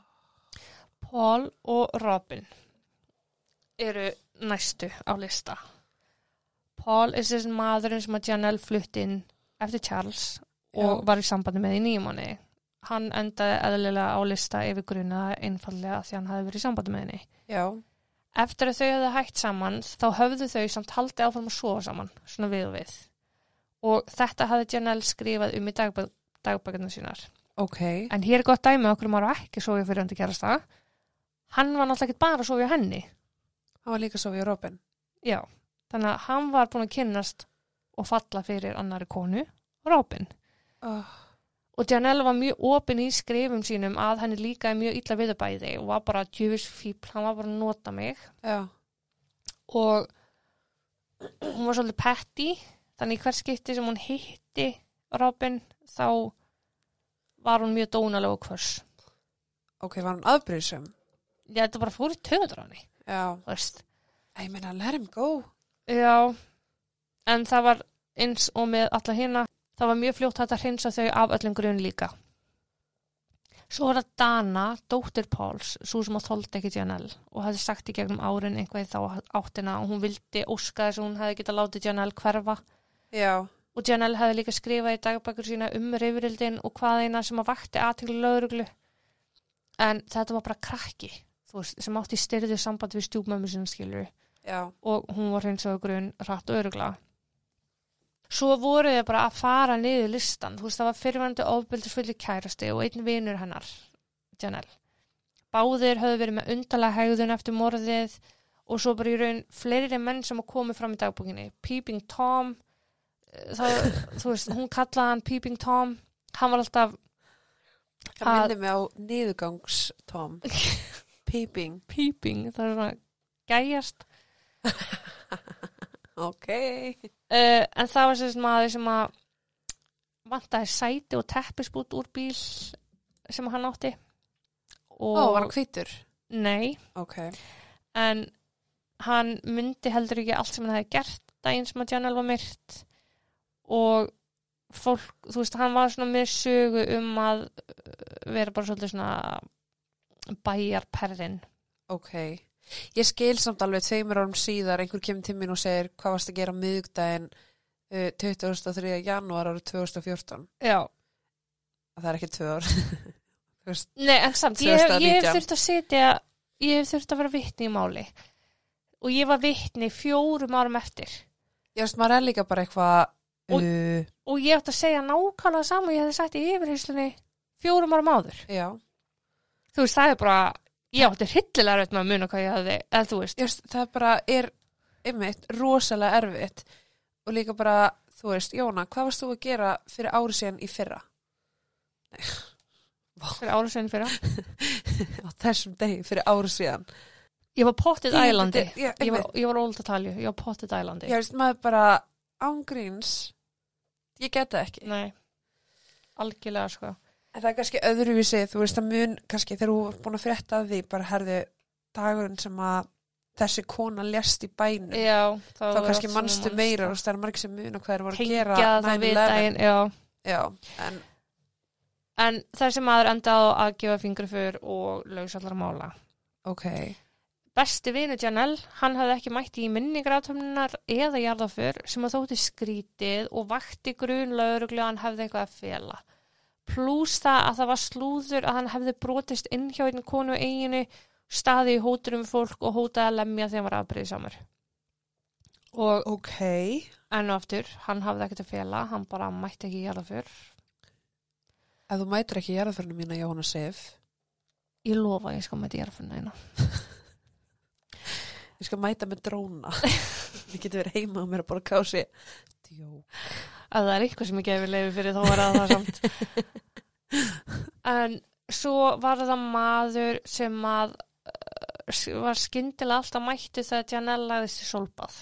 Paul og Robin eru næstu á lista. Paul er þessi maðurinn sem að Janelle flutt inn eftir Charles og
Já.
var í sambandi með í nýjum manni. Hann endaði eðlilega á lista yfir grunaða einfallega því hann hafði verið í sambandi með henni.
já,
Eftir að þau hefðu hægt saman þá höfðu þau samt haldið áfram að sofa saman, svona við og við. Og þetta hafði Janelle skrifað um í dagbæ dagbækarnar sínar.
ok
En hér er gott dæmi okkur maður á ekki sofið fyrir hundi kærasta. Hann var náttúrulega ekki bara að sofið henni.
hann var líka svo við Robin
Já. Þannig að hann var búin að kynnast og falla fyrir annari konu, Robin.
oh.
Og Janelle var mjög opin í skrifum sínum að henni líkaði mjög illa við þau bæði og var bara djöfis fíbl, hann var bara að nota mig.
já,
Og hún var svolítið petty, þannig í hver skipti sem hún hitti Robin þá var hún mjög dónalega og hvers.
ok, var hann aðbrýðsum
Já, þetta bara fór í töður á henni,
já,
þú veist.
ég meina, let him go
Já, en það var eins og með alla hina, það var mjög fljótt hægt að hreinsa þau af öllum grun líka. Svo var það Dana, dóttir Páls, svo sem að þóldi ekki Janelle og hafði sagt í gegnum árin einhvað í þá áttina og hún vildi óska þess að hún hefði getað látið Janelle hverfa
já,
og Janelle hefði líka skrifað í dagbækur sína um reyfurildin og hvað eina sem að vakti aðteglu lögreglu en þetta var bara krakki þú veist, sem átti styrðu samband við stjúpmömmu sinna skilur
já,
og hún var hreins og grun rætt og örugla svo voru þau bara að fara niður listan þú veist það var fyrirvændi ofbeldisfulli kærasti og einn vinur hennar Janelle báðir höfðu verið með undalega hegðun eftir morðið og svo bara í raun fleiri menn sem komu fram í dagbúkinni Peeping Tom það, þú veist, hún kallaði hann Peeping Tom hann var alltaf
það
Að-
minnir mig á niðurgangstóm peeping,
Peeping, það er svona gæjast
ok
uh, en það var sem maður sem að vantaði sæti og teppisbút úr bíl sem hann átti og
ó, var hann hvítur
nei,
ok,
en hann myndi heldur ekki allt sem hann hefði gert daginn sem að Janel var myrt og fólk, þú veist, hann var svona með sögu um að uh, vera bara svolítið svona bæjarperrin
ok ég skil samt alveg tveimur árum síðar einhver kemur til mín og segir hvað varst að gera á miðugdæin uh, 23. janúar árið 2014
já,
það er ekki tvö ár Þú veist,
Nei, en samt, ég hef, ég
2019.
hef þurft að setja ég hef þurft að vera vittni í máli og ég var vittni fjórum árum eftir
ég veist maður er líka bara eitthvað
Og-
uh,
og ég átt að segja nákvæmlega saman og ég hefði sagt í yfirheyslunni fjórum árum áður
já
þú veist, það er bara, ég átti hryllilega raut með að muna hvað ég hafði, eða þú veist
Ég veist, það bara er einmitt rosalega erfitt og líka bara, þú veist, Jóna, hvað varst þú að gera fyrir ári síðan í fyrra?
fyrir ára sveinu fyrir á.
Á þessum degi, fyrir ári síðan.
ég var pottið ælandi
Já,
ég var,
einmitt.
ég var óld að talju, ég var pottið ælandi
Ég veist, maður bara ángríns, ég geta ekki.
nei, algjörlega sko
En það er kannski öðruvísi, þú veist, það mun kannski þegar þú er búin að frétta af því, bara herðu dagurinn sem að þessi kona lest í bænum.
já,
Þá kannski mannstu meira, þú veist, það er margir sem mun og hvað þeir voru að
tengja
gera.
það
9/11.
við daginn, já
Já, en
En þessi maður endaði á að gefa fingur fyrr og lausallar mála.
ok,
Besti vinu Janelle, hann hafði ekki mætti í minningratöfnunar eða jarðaför sem að þótti skrítið og vakti grun lauruglu að hann hefði eitthvað að fela. Plús það að það var slúður að hann hefði brotist inn hjá einn konu á eiginu, staði í hóturum fólk og hótaði að lemja þegar hann var afbreyðsamur. Og
ok,
enn og aftur, hann hafði ekkert að fela, hann bara mætti ekki í jarðaför.
ef þú mætir ekki jarðaförnum mína, Jóhanna Sif,
Ég lofa að ég skal mæti í jarðaförna eina.
Ég skal mæta með dróna. Ég geti verið heima og mér að borða kási. Djó.
að það er eitthvað sem ég gefi leiði fyrir þá var það það samt en svo var það maður sem að uh, var skyndilega alltaf mættu þegar Janelle lagðist í solbað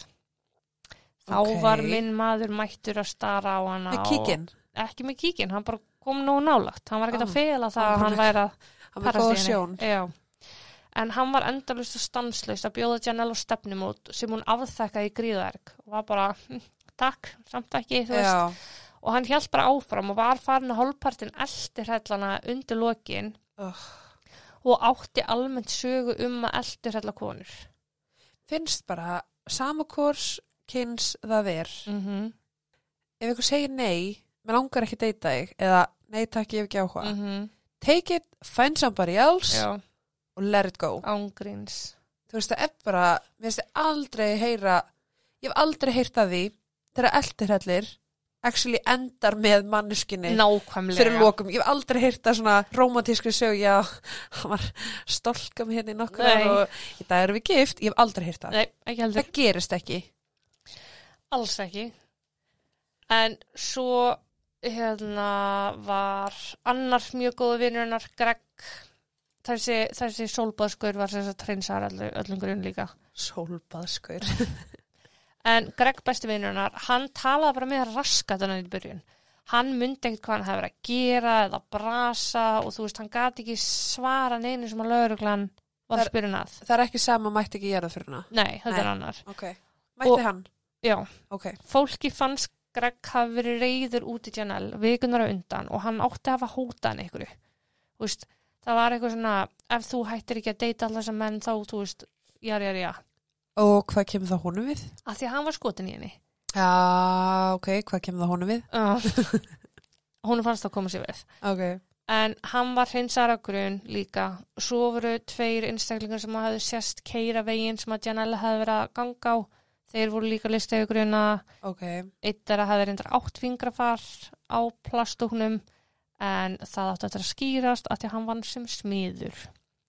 þá
Ókei.
var minn maður mættur að stara á hana
Með
og-
kíkinn.
ekki með kíkin, hann bara kom nóg nálagt hann var ekkert
Ah.
að fela það
Ah.
að hann væri að
Hann með
Parasíunni.
góða sjón.
Já. En hann var endalust og stanslust að bjóða Janelle á stefnumót sem hún afþekkaði í gríðark og var bara, "Hm, takk, samt ekki, þú veist
Já.
og hann hjælt bara áfram og var farin að hálfpartin eldirhellana undir lokin
Oh.
og átti almennt sögu um að eldirhella konur.
Finnst bara sama kors kyns það er.
Mm -hmm.
Ef einhver segir nei, mér langar ekki að deyta þig eða nei takk ég hef ekki áhuga.
Mm
Take it, find somebody else
Já,
og let it go.
ángríns.
Þú veist það er bara, mér finnst ég aldrei heyra, ég hef aldrei heyrt að því þegar eldirhellir actually endar með manneskinni
Nákvæmlega.
fyrir lokum, ég hef aldrei heyrt að svona romantískri sög, já, hann var stolkam hérna í nokkur
Nei.
ár og í dag erum við gift, ég hef aldrei heyrt það
Nei, ekki heldur.
það gerist ekki
Alls ekki. En svo hérna var annar mjög góðu vinnurinnar Greg þessi, þessi sólbaðskur var þess að treynsar öllum grunn líka.
sólbaðskur
En Greg besti vinnurinnar, hann talaði bara með raskat hann í byrjun. Hann myndi ekkert hvað hann hefði verið að gera eða brasa og þú veist, hann gati ekki svara neinu sem að lauruglan var
Það er-
spyrun að.
það er ekki sama, mætti ekki gera fyrir hana
Nei, þetta
Nei.
er annar.
ok, mætti
Og-
hann
Já,
ok,
fólki fannst Greg hafi verið reyður út í Janelle vikunar á undan og hann átti að hafa hótað hann einhverju. þú veist, það var eitthvað svona ef þú hættir ekki að deyta allar sem menn þá, þú veist, jari, jari, já
Og hvað kemur það honum við?
að því að hann var skotin í henni
Já, ok, hvað kemur það honum við?
uh, hún fannst að koma sér við
Ok.
en hann var hreinsara grun líka svo voru tveir einstaklingar sem hafðu sérst keira veginn sem að Janelle hafði verið að ganga á þeir voru líka listegu gruna
Ok.
eitt er að hafði reyndar átt fingrafar á plastóknum en það átti eftir að skýrast að því að hann vann sem smiður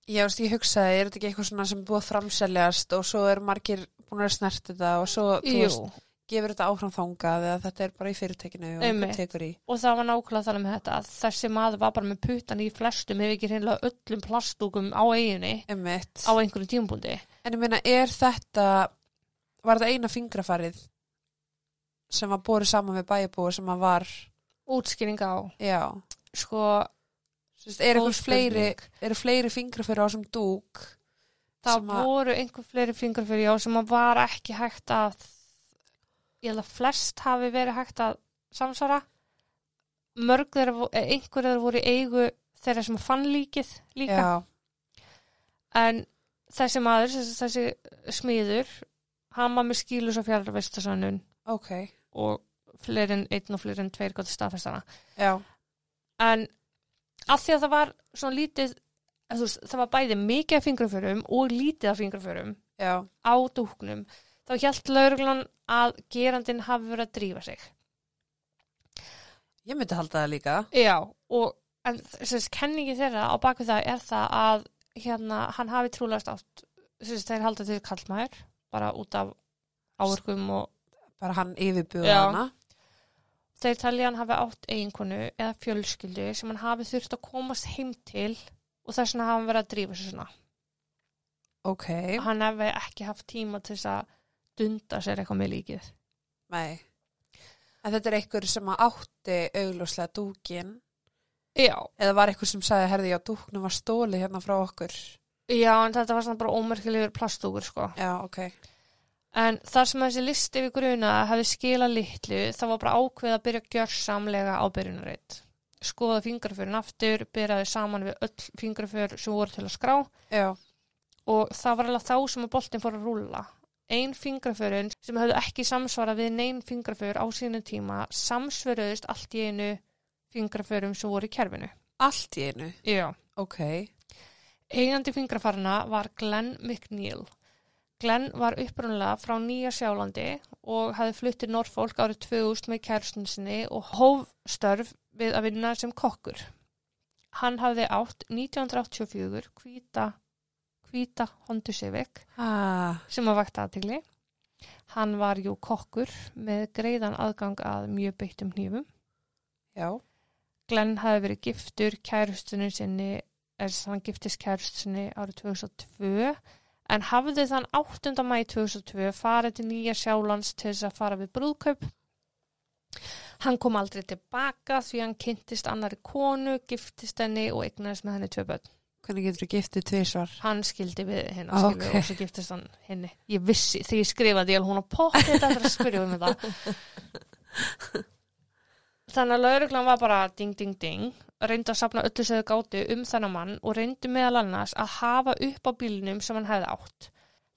Já, veist, ég hugsaði, er þetta ekki eitthvað svona sem er búið að framseljast og svo er margir búin að snert þetta og svo, þú veist,
Jú,
gefur þetta áfram þangað eða þetta er bara í fyrirtekinu og
Einmitt.
einhver tekur í.
og það var nákvæmlega þannig með þetta að þessi maður var bara með putan í flestum ef ekki hreinlega öllum plastúkum á eiginni
Einmitt.
á einhverjum tímabúndi
En ég meina, er þetta, var þetta eina fingrafarið sem var borið saman við bæjabúi sem að var,
útskýringa á
já,
sko,
Sist, er
góð
eitthvað fleiri,
spurning.
eru fleiri fingrafyrir á sem dúk
það
sem að-
voru einhver fleiri fingur fyrir já sem að var ekki hægt að ég held að flest hafi verið hægt að samsvara mörg þeirra vo- eh, einhver þeirra voru í eigu þeirra sem fann líkið líka
já,
en þessi maður, þessi, þessi smiður hann var með skýlus og fjarrvistasönnun
ok,
og fleiri en einn og fleiri en tveir gott staðfestana
já,
en af því að það var svona lítið eða þú veist, það var bæði mikið af fingraförum og lítið af fingraförum
já,
á dúknum þá hjælt lauruglan að gerandin hafi verið að drífa sig
ég myndi halda það líka,
já, og en þess kenningi þeirra á baku það er það að hérna, hann hafi trúlegast átt þess þeir halda til kallmæður bara út af áverkum og
bara hann yfirbúið
Já.
hana,
þeir talja hann hafi átt eiginkonu eða fjölskyldu sem hann hafi þurft að komast heim til og þess vegna hafi hann verið að drífa sig svona
ok,
hann hafi ekki haft tíma til þess að dunda sér eitthvað með líkið
nei, en þetta er einhver sem að átti augljóslega dúkin,
já,
eða var einhver sem sagði, herði, já, dúknum var stólið hérna frá okkur,
já, en þetta var svona bara ómerkilegur plastúkur sko
já, ok,
En þar sem þessi listi við gruna hefði skila litlu, þá var bara ákveð að byrja að gjör samlega á byrjunarreitt. Skoða fingraförin aftur, byrjaði saman við öll fingraför sem voru til að skrá
já,
og það var alveg þá sem að boltin fór að rúlla. Ein fingraförin sem hefðu ekki samsvarað við neinn fingraför á sínu tíma samsverðuðist allt í einu fingraförum sem voru í kerfinu.
allt í einu,
Já.
ok,
Eigandi fingrafarna var Glenn McNeil. Glenn var upprunlega frá Nýja Sjálandi og hafði flutt til Norfolk árið 2000 með kærstun sinni og hóf störf við að vinna sem kokkur. Hann hafði átt 1984 hvíta, hvíta Honda Civic
ah,
sem að vakta aðtigli. Hann var jú kokkur með greiðan aðgang að mjög beittum hnífum.
já,
Glenn hafi verið giftur kærustunni sinni er þess að hann giftist kærustunni árið 2002 en hafði þann 8. mæ 2002 farið til nýja sjálands til þess að fara við brúðkaup hann kom aldrei tilbaka því hann kynntist annari konu giftist henni og eignaðist með henni tvö börn
hvernig getur þú giftið tvisvar?
hann skildi við henni
Ah,
okay.
ok.
og svo giftist hann henni ég vissi, þegar ég skrifaði ég alveg hún á potti þetta er að spyrja um þetta þannig að lauruglan var bara ding ding ding reyndi að sapna öllu sem þau gátu um þennan mann og reyndi meðal annars að hafa upp á bílnum sem hann hefði átt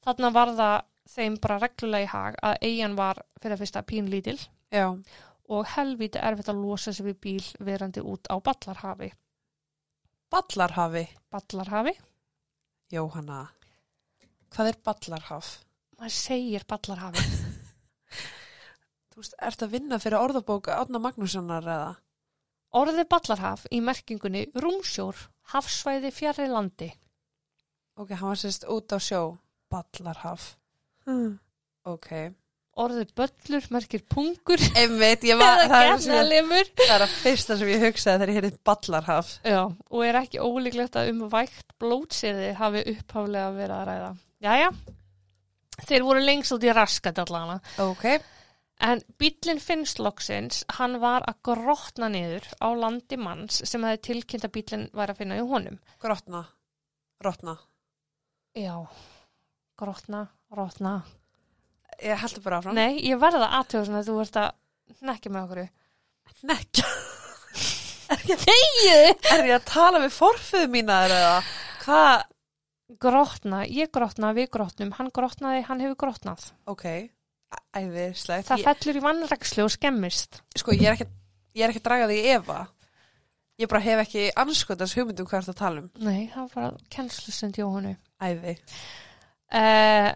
þannig var það þeim bara reglulega í hag að eigin var fyrir að fyrsta pínlítil
Já,
og helvíti erfitt að losa sig við bíl verandi út á ballarhafi
ballarhafi,
ballarhafi,
Jóhanna, hvað er ballarhaf?
maður segir ballarhafi
Þú veist, ertu að vinna fyrir orðabók Átna Magnússonar eða?
Orðið ballarhaf í merkingunni rúmsjór, hafsvæði fjarri landi.
Ok, hann var sérst út á sjó. Ballarhaf. Hmm. Ok.
Orðið böllur merkir pungur
Einmitt, ég var,
eða
það er, sem ég,
gernalimur.
það er að fyrsta sem ég hugsaði þegar ég heyrði ballarhaf.
Já, og er ekki ólíklegt að um vægt blótsiði hafi upphaflega verið að ræða. Jæja, þeir voru lengst út í raskat allana.
Ok.
En bíllinn finnst loksins, hann var að grotna niður á landi manns sem hefði tilkynnt að bíllinn var að finna í honum.
Grotna. Rotna.
Já, grotna, rotna.
Ég heldur bara áfram.
Nei, ég verða að aðtjóða svona að þú ert að nekja með okkur.
Nekja.
Þegið!
Er ég að tala við forföðu mína eða hvað?
Grotna, ég grotna, við grotnum, hann grotnaði, hann hefur grotnað.
Ok, æðislegt.
Það
Ég,
fellur í vannrækslu og skemmist.
sko, ég er ekki, ég er ekki að draga því í efa. Ég bara hef ekki anskotans hugmyndum hvað það tala um.
Nei, það var bara kennslusund Jóhannu.
Æði.
Uh,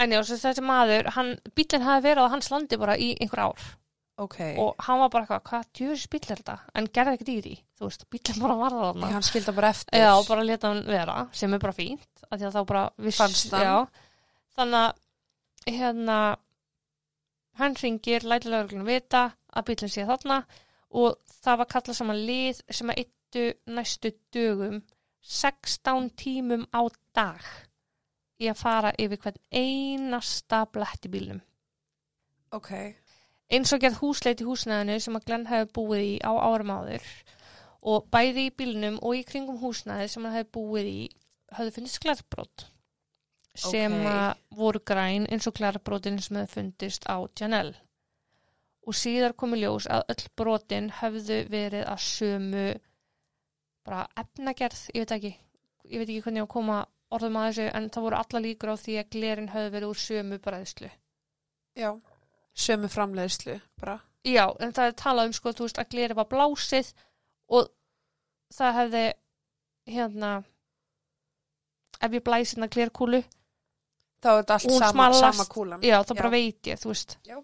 en já, sem sagt, þessi maður, hann, bíllinn hafi verið á hans landi bara í einhver ár.
Ok. Og
Og hann var bara eitthvað, hvað djöfis bíll er þetta? En gerði ekkert í því, þú veist, bíllinn bara varða þarna.
hann skildi bara eftir.
Já, bara leta hann vera, sem er bara fínt að því að þá bara viss,
Fannst hann.
já, þannig að hérna hann ringir, læti lögreglunum vita að bílinn sé þarna og það var kallað saman lið sem að yttu næstu dögum 16 tímum á dag í að fara yfir hvern einasta blett í bílnum
Ok,
eins og gerð húsleit í húsnæðinu sem að Glenn hefði búið í á árum áður og bæði í bílnum og í kringum húsnæði sem hann hefði búið í höfðu fundist glærbrót sem
Ókei.
að voru græn eins og glærbrótin sem hefði fundist á Janelle og síðar komi ljós að öll brotin höfðu verið að sömu bara efnagerð, ég veit ekki ég veit ekki hvernig ég á að koma orðum að þessu en það voru alla líkur á því að glerin höfðu verið úr sömu bræðslu
já. Sömu framleiðslu, bara.
Já, en það er talað um sko, þú veist, að gleri var blásið og það hefði hérna ef ég blæs hérna glerkúlu
Þá er þetta allt
Hún
sama,
smalast.
sama kúlan.
já, það
Mm, Já.
bara veit ég, þú veist
Já.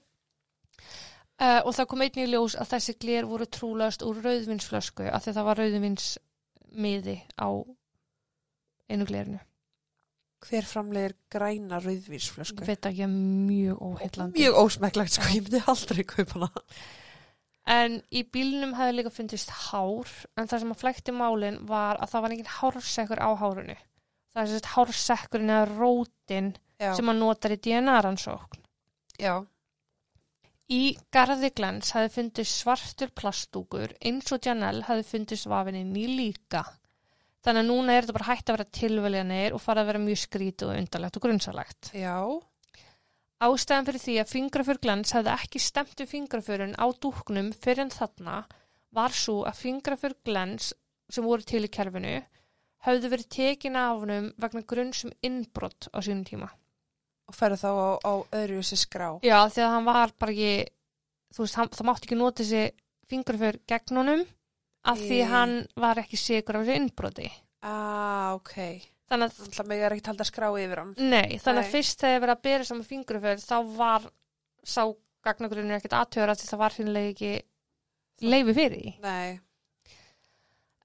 Eh, og það kom einnig í ljós að þessi gler voru trúlaust úr rauðvinsflösku af því það var rauðvinsmiði á einu glerinu
Hver framleiðir græna
ég
rauðvísflösku?
veit ekki, mjög óheillandi
Mjög ósmekklegt, sko, ég myndi aldrei kaupa hana.
En í bílnum hefði líka fundist hár, en það sem að flækti málin var að það var enginn hársekkur á hárinu. Það er sérst hársekkurinn eða rótin
Já,
sem að notar í DNA-rannsókn.
já.
Í garði glens hefði fundist svartur plastúkur, eins og Janelle hefði fundist vafininni líka. Þannig að núna er þetta bara hægt að vera tilveljanir og fara að vera mjög skrítið og undarlegt og grunnsalegt.
Já,
Ástæðan fyrir því að fingraför glans hefði ekki stemt um fingraförun á dúknum fyrir en þarna var svo að fingraför glans sem voru til í kerfinu höfðu verið tekin af honum vegna grunnsum innbrott á sínum tíma.
og ferðu þá á, á öðru þessi skrá.
Já, því að hann var bara ekki, þú veist, hann, það mátti ekki nota þessi fingraför gegn honum af því
Í.
hann var ekki sigur af þessu innbrotti.
Ah, ok.
Þannig að,
Þannig að mig er ekkert haldið að skrá yfir hann.
nei, þannig
Nei.
að fyrst þegar verið að bera saman fingraför þá var sá gagnagrunnur ekkert aðtöra því það var hinnlega ekki leifi fyrir því.
Nei,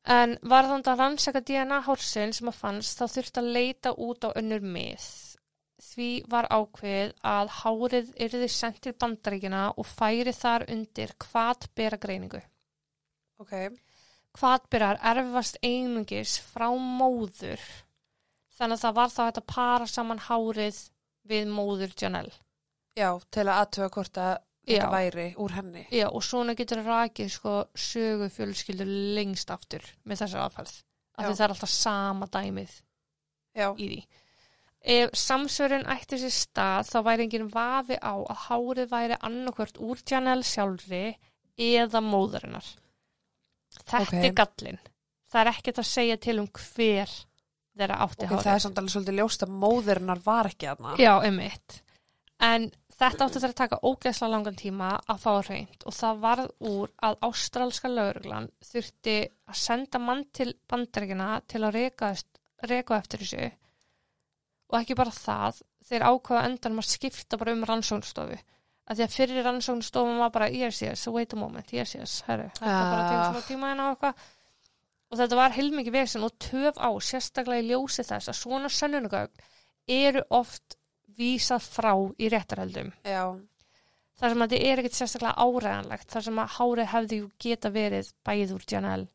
En varðandi að rannsaka DNA hálsin sem að fannst þá þurfti að leita út á önnur mið. Því var ákveð að hárið yrði sendt til bandaríkina og færi þar undir hvatbera greiningu.
ok.
Hvatberar erfast einungis frá móður þannig að það var þá hægt að para saman hárið við móður Janelle.
Já, til að aðtöga hvort að
Já.
þetta væri úr henni.
Já, og svona getur rakið sko sögu fjölskyldur lengst aftur með þessar aðferð. Af því
Já.
það er alltaf sama dæmið.
Já,
í því. Ef samsverun ætti sér stað þá væri enginn vafi á að hárið væri annarkvört úr Janelle sjálfri eða móðurinnar. Þetta
Ok.
er gallin. Það er ekkert að segja til um hver þeirra átti
ok,
hárið.
það er samt alveg svolítið ljóst að móðurinnar var ekki aðna.
Já, einmitt. En þetta átti þær að taka ógeðslega langan tíma að fá reynd og það varð úr að ástralska lauruglan þurfti að senda mann til bandaríkina til að reka, reka eftir þessu og ekki bara það, þeir ákveða endanum að skipta bara um rannsóknstofu að því að fyrir rannsóknstofum var bara yes, yes, wait a moment, yes, yes, herru þetta bara
Ah.
tegur smá tíma en á eitthvað og þetta var heilmikið vesen og töf á sérstaklega í ljósi þess að svona sönnunugögn eru oft vísað frá í réttarhöldum
Já,
þar sem að þetta er ekkit sérstaklega áræðanlegt þar sem að hárið hefði jú geta verið bæð úr Janel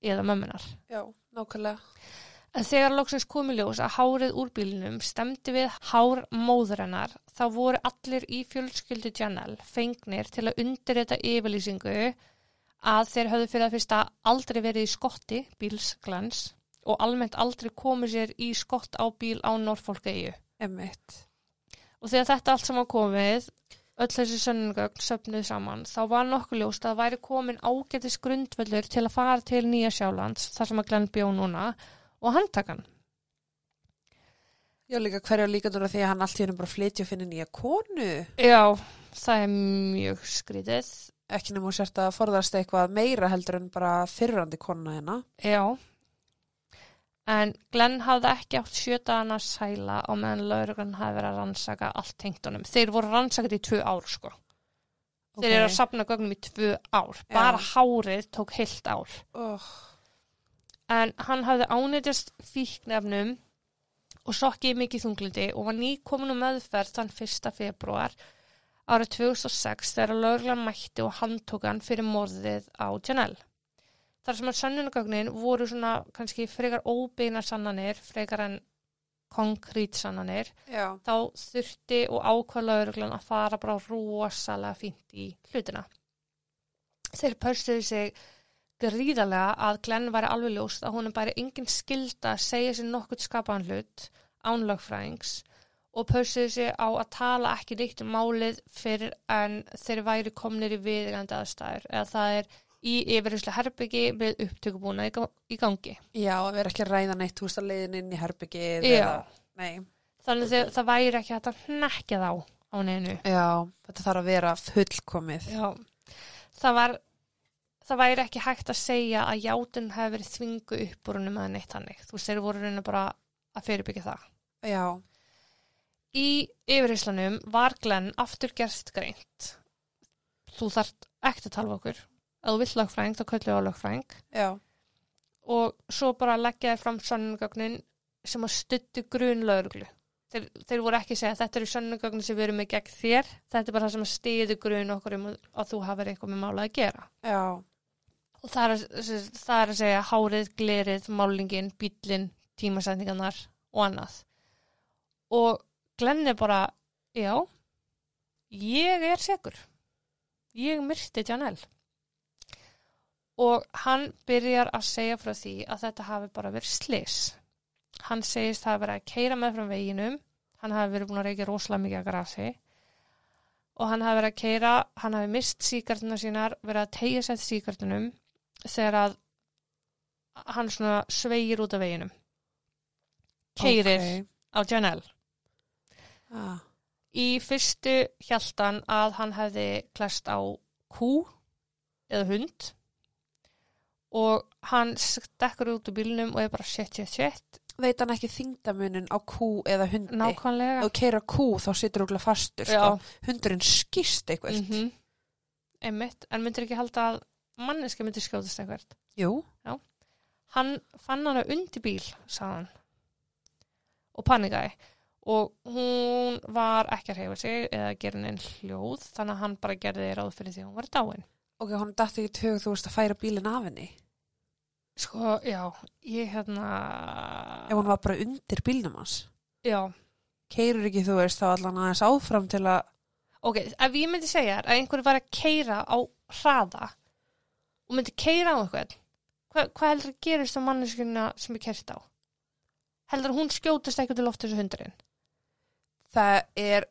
eða mömmunar
já, nákvæmlega.
En þegar loksins komi ljós að hárið úr bílnum stemdi við hár móðurinnar þá voru allir í fjölskyldu Janel fengnir til að undirrita yfirlýsingu að þeir höfðu fyrir að fyrsta aldrei verið í skotti bílsglans og almennt aldrei komið sér í skott á bíl á Norfolk EU.
Emmitt.
Og þegar þetta allt saman komið öll þessi sönnungögn söfnuð saman, þá var nokkuð ljóst að það væri komin ágætis grundvöllur til að fara til Nýja Sjálands, þar sem að Glenn bjó núna, og handtakan.
Já, líka hverja líkandur af því að hann allt í hennu bara flytja og finna nýja konu.
Já, það er mjög skrítið.
Ekki nema hún sért að forðast eitthvað meira heldur en bara hérna. fyrrandi konuna hennar.
Já. En Glenn hafði ekki átt sjötaðana sæla á meðan lauruglan hafði verið að rannsaka allt tengt honum. Þeir voru rannsakað í tvö ár, sko. Þeir eru að sapna gögnum í tvö ár.
Já.
Bara hárið tók heilt ár.
Oh,
En hann hafði ánættjast fíknefnum og sokkið í mikið þunglindi og var nýkomin um meðferð þann 1. februar árið 2006 þegar lauruglan mætti og handtók hann fyrir morðið á Janelle. Þar sem að sönnunagögnin voru svona kannski frekar óbeina sannanir, frekar en konkrít sannanir,
já.
þá þurfti og ákvæða lauruglan að fara bara rosalega fínt í hlutina. Þeir pörstuðu sig gríðarlega að Glenn væri alveg ljóst að honum bæri engin skilda að segja sér nokkurt skapaðan hlut án lögfræðings og pörstuðu sig á að tala ekki neitt um málið fyrir en þeir væri komnir í viðegandi aðstæður eða það er í yfirherslu herbyggi með upptökubúna í ga- í gangi.
Já, að vera ekki að ræða neitt, þú veist að leiðin inn í herbyggið.
Já.
Eða, nei.
Þannig að það væri ekki hægt að hnekja þá á neinu.
Já, þetta þarf að vera fullkomið.
Já, það var það væri ekki hægt að segja að játun hefur verið þvingu upp úr húnum eða neitt hannig. Þú veist, þeir voru reyna bara að fyrirbyggja það.
Já,
Í yfirheyslanum var Glenn aftur gerst greint. Þú þarft ekkert að tala við okkur. Ef þú vill lögfræðing, þá köllu á lögfræðing.
já.
Og svo bara leggja þér fram sönnugögnin sem að stuttu grun lögreglu. Þeir, þeir voru ekki að segja þetta eru sönnugögnin sem við erum með gegn þér. Þetta er bara það sem að stiðu grun okkur um að að þú hafir eitthvað með mála að gera.
Já,
og það er, að- sem sagt, það er að segja hárið, glerið, málingin, bíllinn, tímasetningarnar og annað. Og Glenn er bara, já, ég er segur. Ég myrti Janelle. Og hann byrjar að segja frá því að þetta hafi bara verið slis. Hann segist það hafi verið að keira með frá veginum, hann hafi verið búin að reykja rosalega mikið að grasi og hann hafi verið að keira, hann hafi mist síkartuna sínar, verið að tegja sætt síkartunum þegar að hann svona sveigir út af veginum. Keirir
ókei.
á Janelle.
Ah,
Í fyrstu hjáltan að hann hefði klæst á kú eða hund og hann stekkur út úr bílnum og er bara shit, shit, shit,
Veit hann ekki þingdamunin á kú eða hundi?
nákvæmlega.
Ef þú keirir á kú þá situr þú fastur, sko. Hundurinn skýrst eitthvað.
mm -hmm. einmitt, en myndir ekki halda að manneska myndir skjóðast eitthvað.
Jú,
Hann fann hana undir bíl, sagði hann, og panikaði og hún var ekki að hreyfa sig eða gera neinn hljóð, þannig að hann bara gerði ráð fyrir því að hún var dáin.
ok, hann datt ekki tög þú veist að færa bílinn af henni.
Sko, já, ég hérna...
Ef hún var bara undir bílnum hans.
Já,
Keirir ekki þú veist þá allan aðeins áfram til að,
ok, ef ég myndi segja þér að einhver var að keira á hraða og myndi keira á einhvern, hva, hvað heldur að gerist á manneskuna sem er kert á? Heldur að hún skjótast eitthvað til loft þessu hundurinn?
það er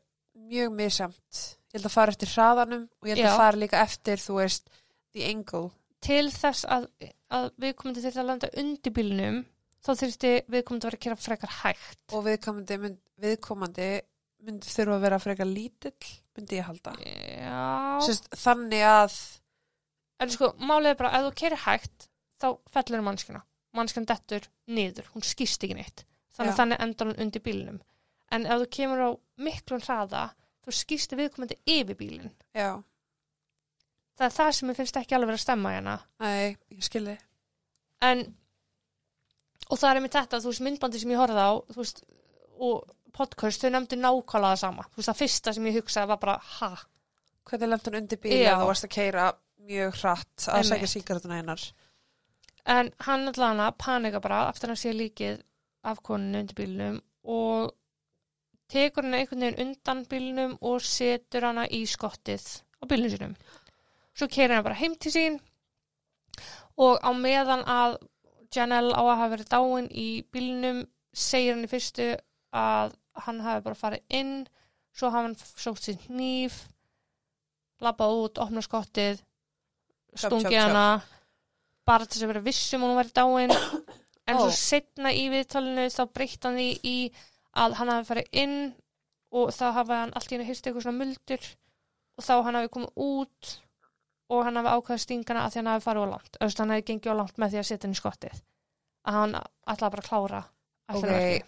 mjög misamt. Ég held að fara eftir hraðanum og ég held
Já.
að fara líka eftir, þú veist, the angle.
Til þess að, að viðkomandi þyrfti að landa undir bílnum, þá þyrfti viðkomandi að vera að kera frekar hægt.
Og viðkomandi, mynd, viðkomandi myndi þurfa að vera frekar lítill, myndi ég halda.
Já,
Sérst, þannig að,
en sko, málið er bara að ef þú kerir hægt, þá fellur mannskuna. Mannskan dettur niður, hún skýrst ekki neitt. Þannig að
Já.
þannig endar hún undir bílnum. En ef þú kemur á miklum hraða, þú skýrst viðkomandi yfir bílinn.
já,
Það er það sem mér finnst ekki alveg vera að stemma hérna.
nei, ég skilði.
En, og það er með þetta, þú veist, myndbandi sem ég horfði á, þú veist, og podcast, þau nefndu nákvæmlega það sama. Þú veist, það fyrsta sem ég hugsaði var bara, ha,
Hvernig lemt hann undir bíl
Já.
að þú varst að keira mjög hratt að
Einmitt.
sækja síkaretuna einar?
En hann allan að panika bara eftir að hann sé líkið af konunni undir bílnum og tekur hann einhvern veginn undan bílnum og setur hana í skottið á bílnum sínum. Svo keirir hann bara heim til sín og á meðan að Janelle á að hafa verið dáin í bílnum segir hann í fyrstu að hann hafi bara farið inn svo hafa hann sótt sér hníf labbað út, opna skottið
Tjöp, tjöp,
stungið
tjöp.
hana bara til þess að vera vissum hún væri dáin en
Ó.
svo setna í viðtalinu þá breytt hann því í að hann hafi farið inn og þá hafi hann allt í henni hyrst eitthvað svona muldur og þá hann hafi komið út og hann hafi ákveða stingana að því hann hafi farið á langt Öst, hann hafi gengið á langt með því að setja henni í skottið að hann ætlaði bara að klára ætlaði
Ok.
ekki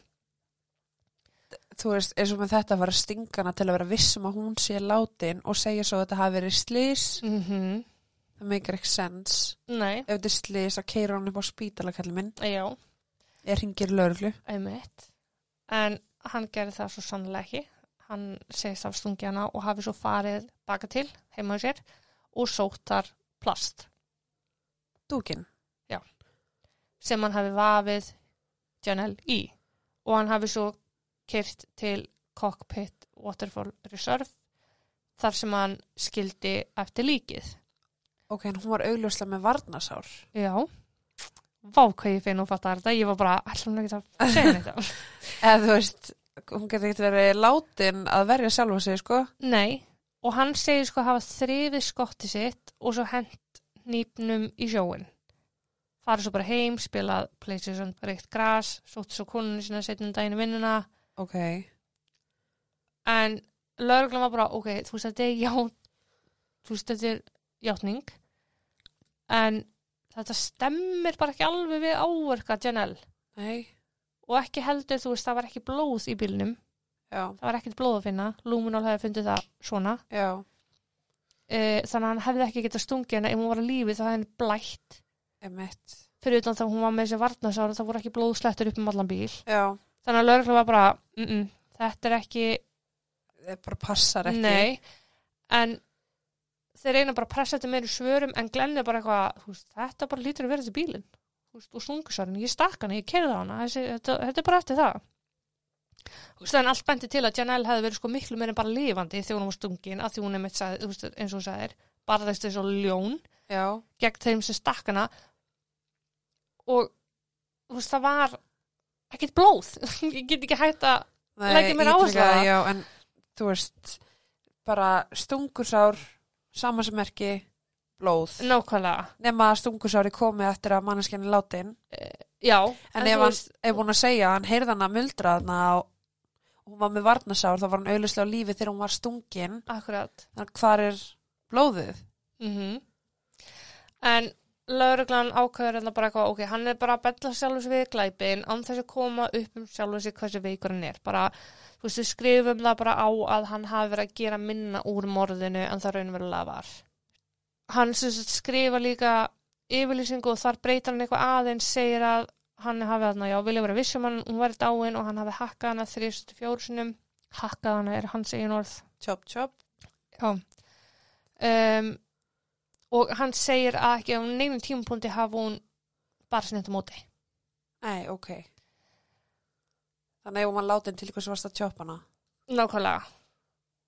þú veist, eins og með þetta var að stinga hana til að vera vissum að hún sé látin og segja svo að þetta hafi verið slís
mm -hmm.
það meikar ekki sens
Nei, eh,
ef þetta er slís að keira hann upp á spítala kalli minn
já,
ég ringir lögreglu
einmitt en hann gerði það svo sannlega ekki hann segist af stungi hana og hafi svo farið baka til heima á sér og sótt þar plast
dúkin
sem hann hafi vafið Janelle í og hann hafi svo kyrt til Cockpit Waterfall Reserve þar sem hann skildi eftir líkið
ok, en hún var augljóslega með varnasár
já vá hvað ég finn og fattar þetta ég var bara allan ekki að segja þetta
eða þú veist, hún getur ekkert verið látin að verja sjálfa sig sko
Nei, og hann segir sko að hafa þrifið skotti sitt og svo hent nýpnum í sjóin. Farið svo bara heim, spilað PlayStation reykt gras, sótt svo konunni sinna setjum um daginn í vinnuna,
ok,
en lögreglum var bara, ok, þú veist þetta er játn, þú veist þetta er játning, en þetta stemmir bara ekki alveg við áverka Janelle
nei,
og ekki heldur, þú veist, það var ekki blóð í bílnum,
já,
það var ekkert blóð að finna, Luminol hefði fundið það svona,
já
Eh, þannig að hann hefði ekki getað stungið hana ef hún var á lífi þá hefði henni blætt
emitt,
fyrir utan þá hún var með þessi varnasára þá voru ekki blóðslettur upp um allan bíl
já,
þannig að lögreglu var bara mm -mm, þetta er ekki,
það bara passar ekki
nei en þeir reyna bara að pressa þetta meiri svörum en glennir bara eitthvað þú veist, þetta bara lítur að vera þessi bílin veist, og stungusárin, ég stakk hana, ég kerði hana þessi, þetta, þetta er bara eftir það Þú veist, en allt benti til að Janelle hefði verið sko miklu meira en bara lifandi þegar hún var stungin að því hún er mitt sagði, þú veist, eins og hún sagðir barðist eins og ljón
já,
gegn þeim sem stakk hana og þú veist það var ekkert blóð ég get ekki hægt að
nei,
Lægir mér áherslu á
ítreka
það.
já, en þú veist bara stungursár sama sem ekki blóð
nákvæmlega
nema að stungusári komið eftir að manneskjarni látin
já,
en,
En
ef
þú
hann
veist-
er búin að segja að hann heyrði hann að muldra þarna og hún var með varnasár þá var hann auðvitað á lífi þegar hún var stungin
akkurat
þannig að hvar er blóðið
mm en lauruglan ákveður þetta bara eitthvað ok, hann er bara að bella sjálfur sér við glæpin án þess að koma upp um sjálfur sér hversu veikur hann er bara, þú veist, við skrifum það bara á að hann hafi verið að gera minna úr morðinu en það raunverulega var hann sem sagt skrifa líka yfirlýsingu og þar breytar hann eitthvað aðeins segir að hann hafi þarna, já, vilja vera vissum hann, hún var dáin og hann hafi hakkað hana þrýst fjórsunum, hakkað hana er hans eigin orð
tjóp tjóp
Já. Um, og hann segir að ekki á neinum tímapunkti hafa hún bara sinni þetta móti.
nei, ok þannig að ef hún var látin til hversu varst að tjópa hana
Nákvæmlega.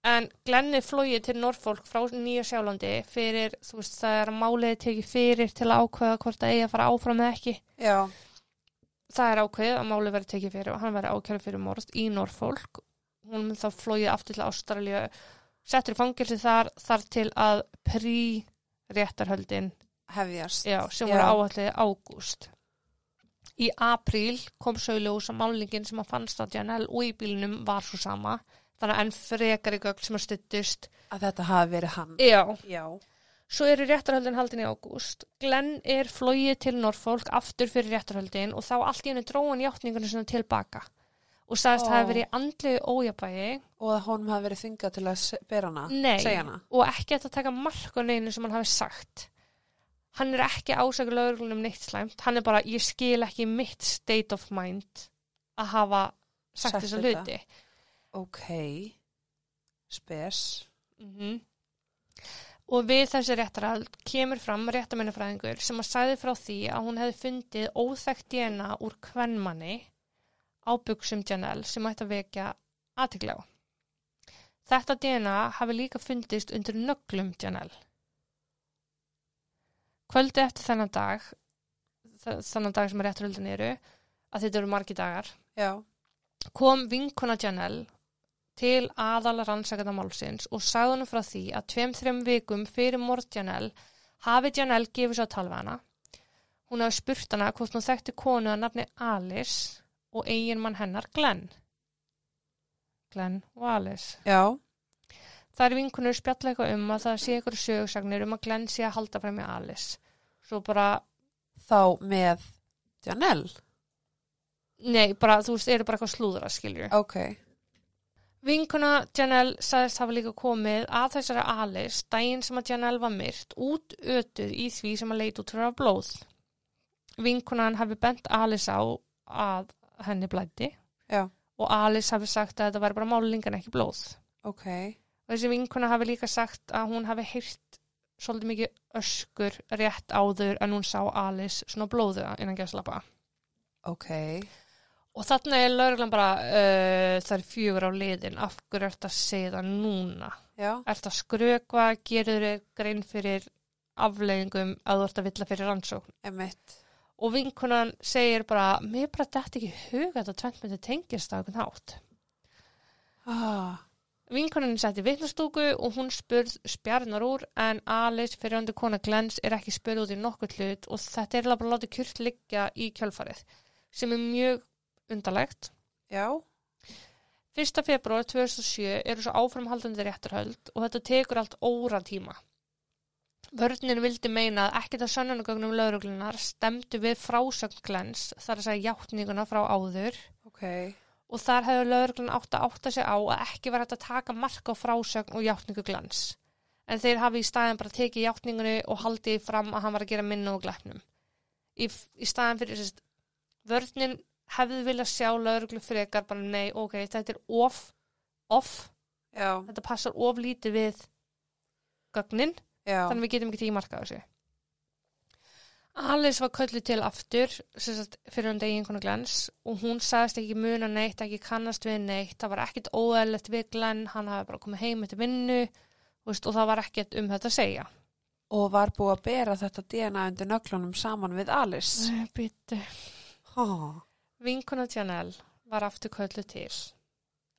En Glenni flóið til Norfolk frá Nýja Sjálandi fyrir, þú veist, það er að máliði tekið fyrir til að ákveða hvort það eigi að fara áfram eða ekki.
já,
Það er ákveðið að málið verið tekið fyrir og hann verið ákjörð fyrir morð í Norfolk. Hún mun þá flóið aftur til Ástralja, settur í fangelsi þar, þar til að prí réttarhöldin
hefjast
Já,
Já.
sem voru áallið ágúst. Í apríl kom svo í ljós að málningin sem að fannst á Janelle og í bílinum var svo sama. Þannig að enn frekari gögn sem að stuttust.
að þetta hafi verið hann
Já.
já,
Svo eru réttarhöldin haldin í ágúst. Glenn er flogið til Norfolk aftur fyrir réttarhöldin og þá allt í henni dróðan játningunum sinna tilbaka. Og sagðist
Ó.
það hefur verið í andlegu ójabægi
og að honum hafi verið þingað til að se- bera hana
Nei.
segja hana
og ekki hægt að taka mark á neginu sem hann hafi sagt hann er ekki ásakur lögreglunum neitt slæmt hann er bara, ég skil ekki mitt state of mind að hafa sagt,
Sagt þetta.
þessa hluti
ok, spes
mm og við þessi réttarhald kemur fram réttamennafræðingur sem að sagði frá því að hún hefði fundið óþekkt DNA úr kvenmanni á buksum Janelle sem ætti að vekja aðtikla á þetta DNA hafi líka fundist undir nöglum Janelle kvöldi eftir þennan dag þ- þennan dag sem réttarhaldin eru að þetta eru margi dagar
já,
kom vinkona Janelle til aðal rannsakenda málsins og sagði honum frá því að tveim-þrem vikum fyrir morð Janelle hafi Janelle gefið sér að tala við hana. Hún hafi spurt hana hvort hún þekkti konu að nafni Alice og eiginmann hennar Glenn. Glenn og Alice.
Já,
Það er vinkunur spjalla eitthvað um að það sé eitthvað sögursagnir um að Glenn sé að halda fram í Alice. Svo bara,
þá með Janelle.
nei, bara, þú veist, eru bara eitthvað slúðra, skilju.
Ok.
Vinkuna Janelle sagðist hafa líka komið að þessari Alice daginn sem að Janelle var myrt út ötuð í því sem að leita út fyrir að blóð. Vinkunan hafi bent Alice á að henni blætti
Já.
og Alice hafi sagt að þetta væri bara málingan ekki blóð.
Ok.
Og þessi vinkuna hafi líka sagt að hún hafi heyrt svolítið mikið öskur rétt áður en hún sá Alice svona blóðuða innan gæslappa.
Ok.
Og þarna er lögreglan bara uh, það er fjögur á liðin, af hverju ert að segja það núna?
Já.
ert að skrökva, gerur grein fyrir afleiðingum að þú ert að villa fyrir rannsókn.
Emitt.
Og vinkunan segir bara, mér bara dætt ekki í hug að þetta tvent myndi tengist á einhvern hátt.
Ah.
Vinkunan setti vitnastúku og hún spurð spjarnar úr en Alice fyrir öndu kona Glens er ekki spurð út í nokkuð hlut og þetta er eiginlega bara að láta kjurt liggja í kjölfarið sem er mjög undarlegt.
Já.
1. februar 2007 eru svo áframhaldandi réttarhöld og þetta tekur allt óra tíma. Vörnin vildi meina að ekkert af sönnunagögnum lauruglunar stemdu við frásögnglens þar að segja játninguna frá áður
Ok.
og þar hefur lauruglun átt að átta sig á að ekki var hægt að taka mark á frásögn og játningu glens. En þeir hafi í staðin bara tekið játningunni og haldið því fram að hann var að gera minna og glæpnum. Í, í staðin fyrir sérst, vörnin hefði viljað sjá lauruglu frekar bara nei, ok, þetta er off, off,
Já.
þetta passar of lítið við gögnin
Já.
þannig við getum ekki tekið markað þessu. Alice var kölluð til aftur sem sagt, fyrir um degi einhvern glens og hún sagðist ekki muna neitt, ekki kannast við neitt, það var ekkit óæðilegt við Glenn, hann hafi bara komið heim eftir vinnu þú veist, og það var ekkert um þetta að segja.
Og var búið að bera þetta DNA undir nöglunum saman við Alice.
Býttu.
Ha.
Vinkona Janelle var aftur kölluð til.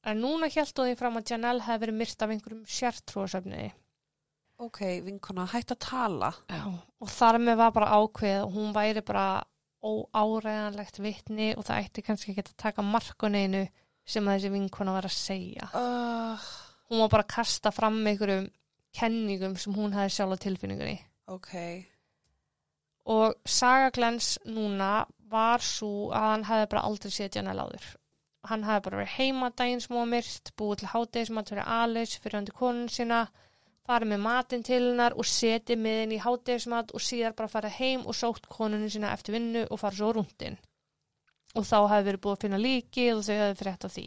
En núna hjæltu því fram að Janelle hefði verið myrt af einhverjum sértrúasöfniði.
Ok, vinkona, hætt að tala.
Já, og þar með var bara ákveð og hún væri bara óáreðanlegt vitni og það ætti kannski ekki að taka markuninu sem þessi vinkona var að segja.
Uh,
Hún var bara að kasta fram einhverjum kenningum sem hún hefði sjálf á tilfinningunni.
ok.
Og Saga Glens núna var svo að hann hefði bara aldrei séð Janelle áður. Hann hefði bara verið heima daginn sem hún var myrt, búið til hátegismat fyrir Alice, fyrir hann til konun sína, farið með matinn til hennar og setið með henni í hátegismat og síðar bara farið heim og sótt konunni sína eftir vinnu og farið svo rúndin. Og þá hefði verið búið að finna líkið og þau hefði frétt af því.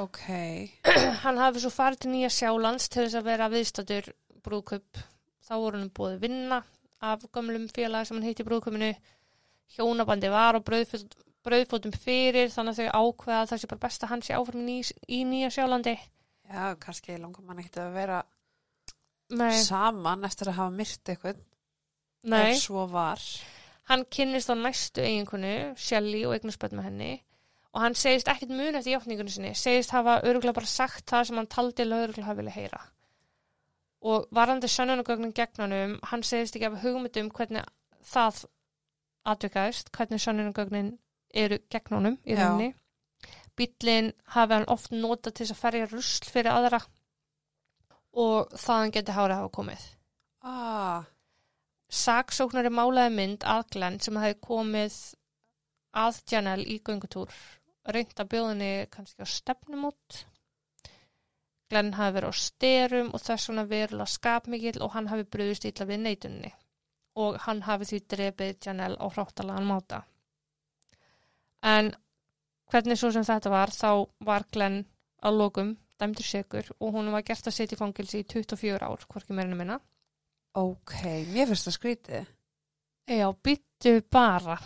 Ok.
hann hafi svo farið til Nýja Sjálands til þess að vera viðstættur brúðkaup. Þá voru hann búið vinna af gömlum félagi sem hann hitti í brúðkaupinu. Hjónabandi var og brauðfót, brauðfótum fyrir þannig að þau ákveða að það sé bara best að hann sé áfram í, ný, í Nýja Sjálandi.
Já, kannski langar mann ekkert að vera
Nei,
saman eftir að hafa myrt eitthvað.
nei.
Ef svo var.
Hann kynnist á næstu eiginkonu, Shelly og eignarspöld með henni og hann segist ekkert mun eftir játningunni sinni, segist hafa öruglega bara sagt það sem hann taldi lögreglega hafa vilja heyra. Og varandi sönnunagögnin gegn honum, hann segist ekki hafa hugmynd um hvernig það atvikaðist, hvernig sönnunagögnin eru gegn honum í
Já.
rauninni. Bíllinn hafi hann oft notað til þess að ferja rusl fyrir aðra og þaðan geti hárið hafa komið
Ah,
saksóknari málaði mynd að Glenn sem hefði komið að Janelle í göngutúr reynd að bjóðinni kannski á stefnumót Glenn hafi verið á styrum og þess vegna verulega skapmikill og hann hafi brugðist illa við neytunni og hann hafi því drepið Janelle á hráttalagan máta en hvernig svo sem þetta var þá var Glenn að lokum dæmdur segur og hún var gert að setja í fangilsi í 24 ár, hvorki meirinu minna
ok. Mér finnst það skrítið.
Já, byttu bara.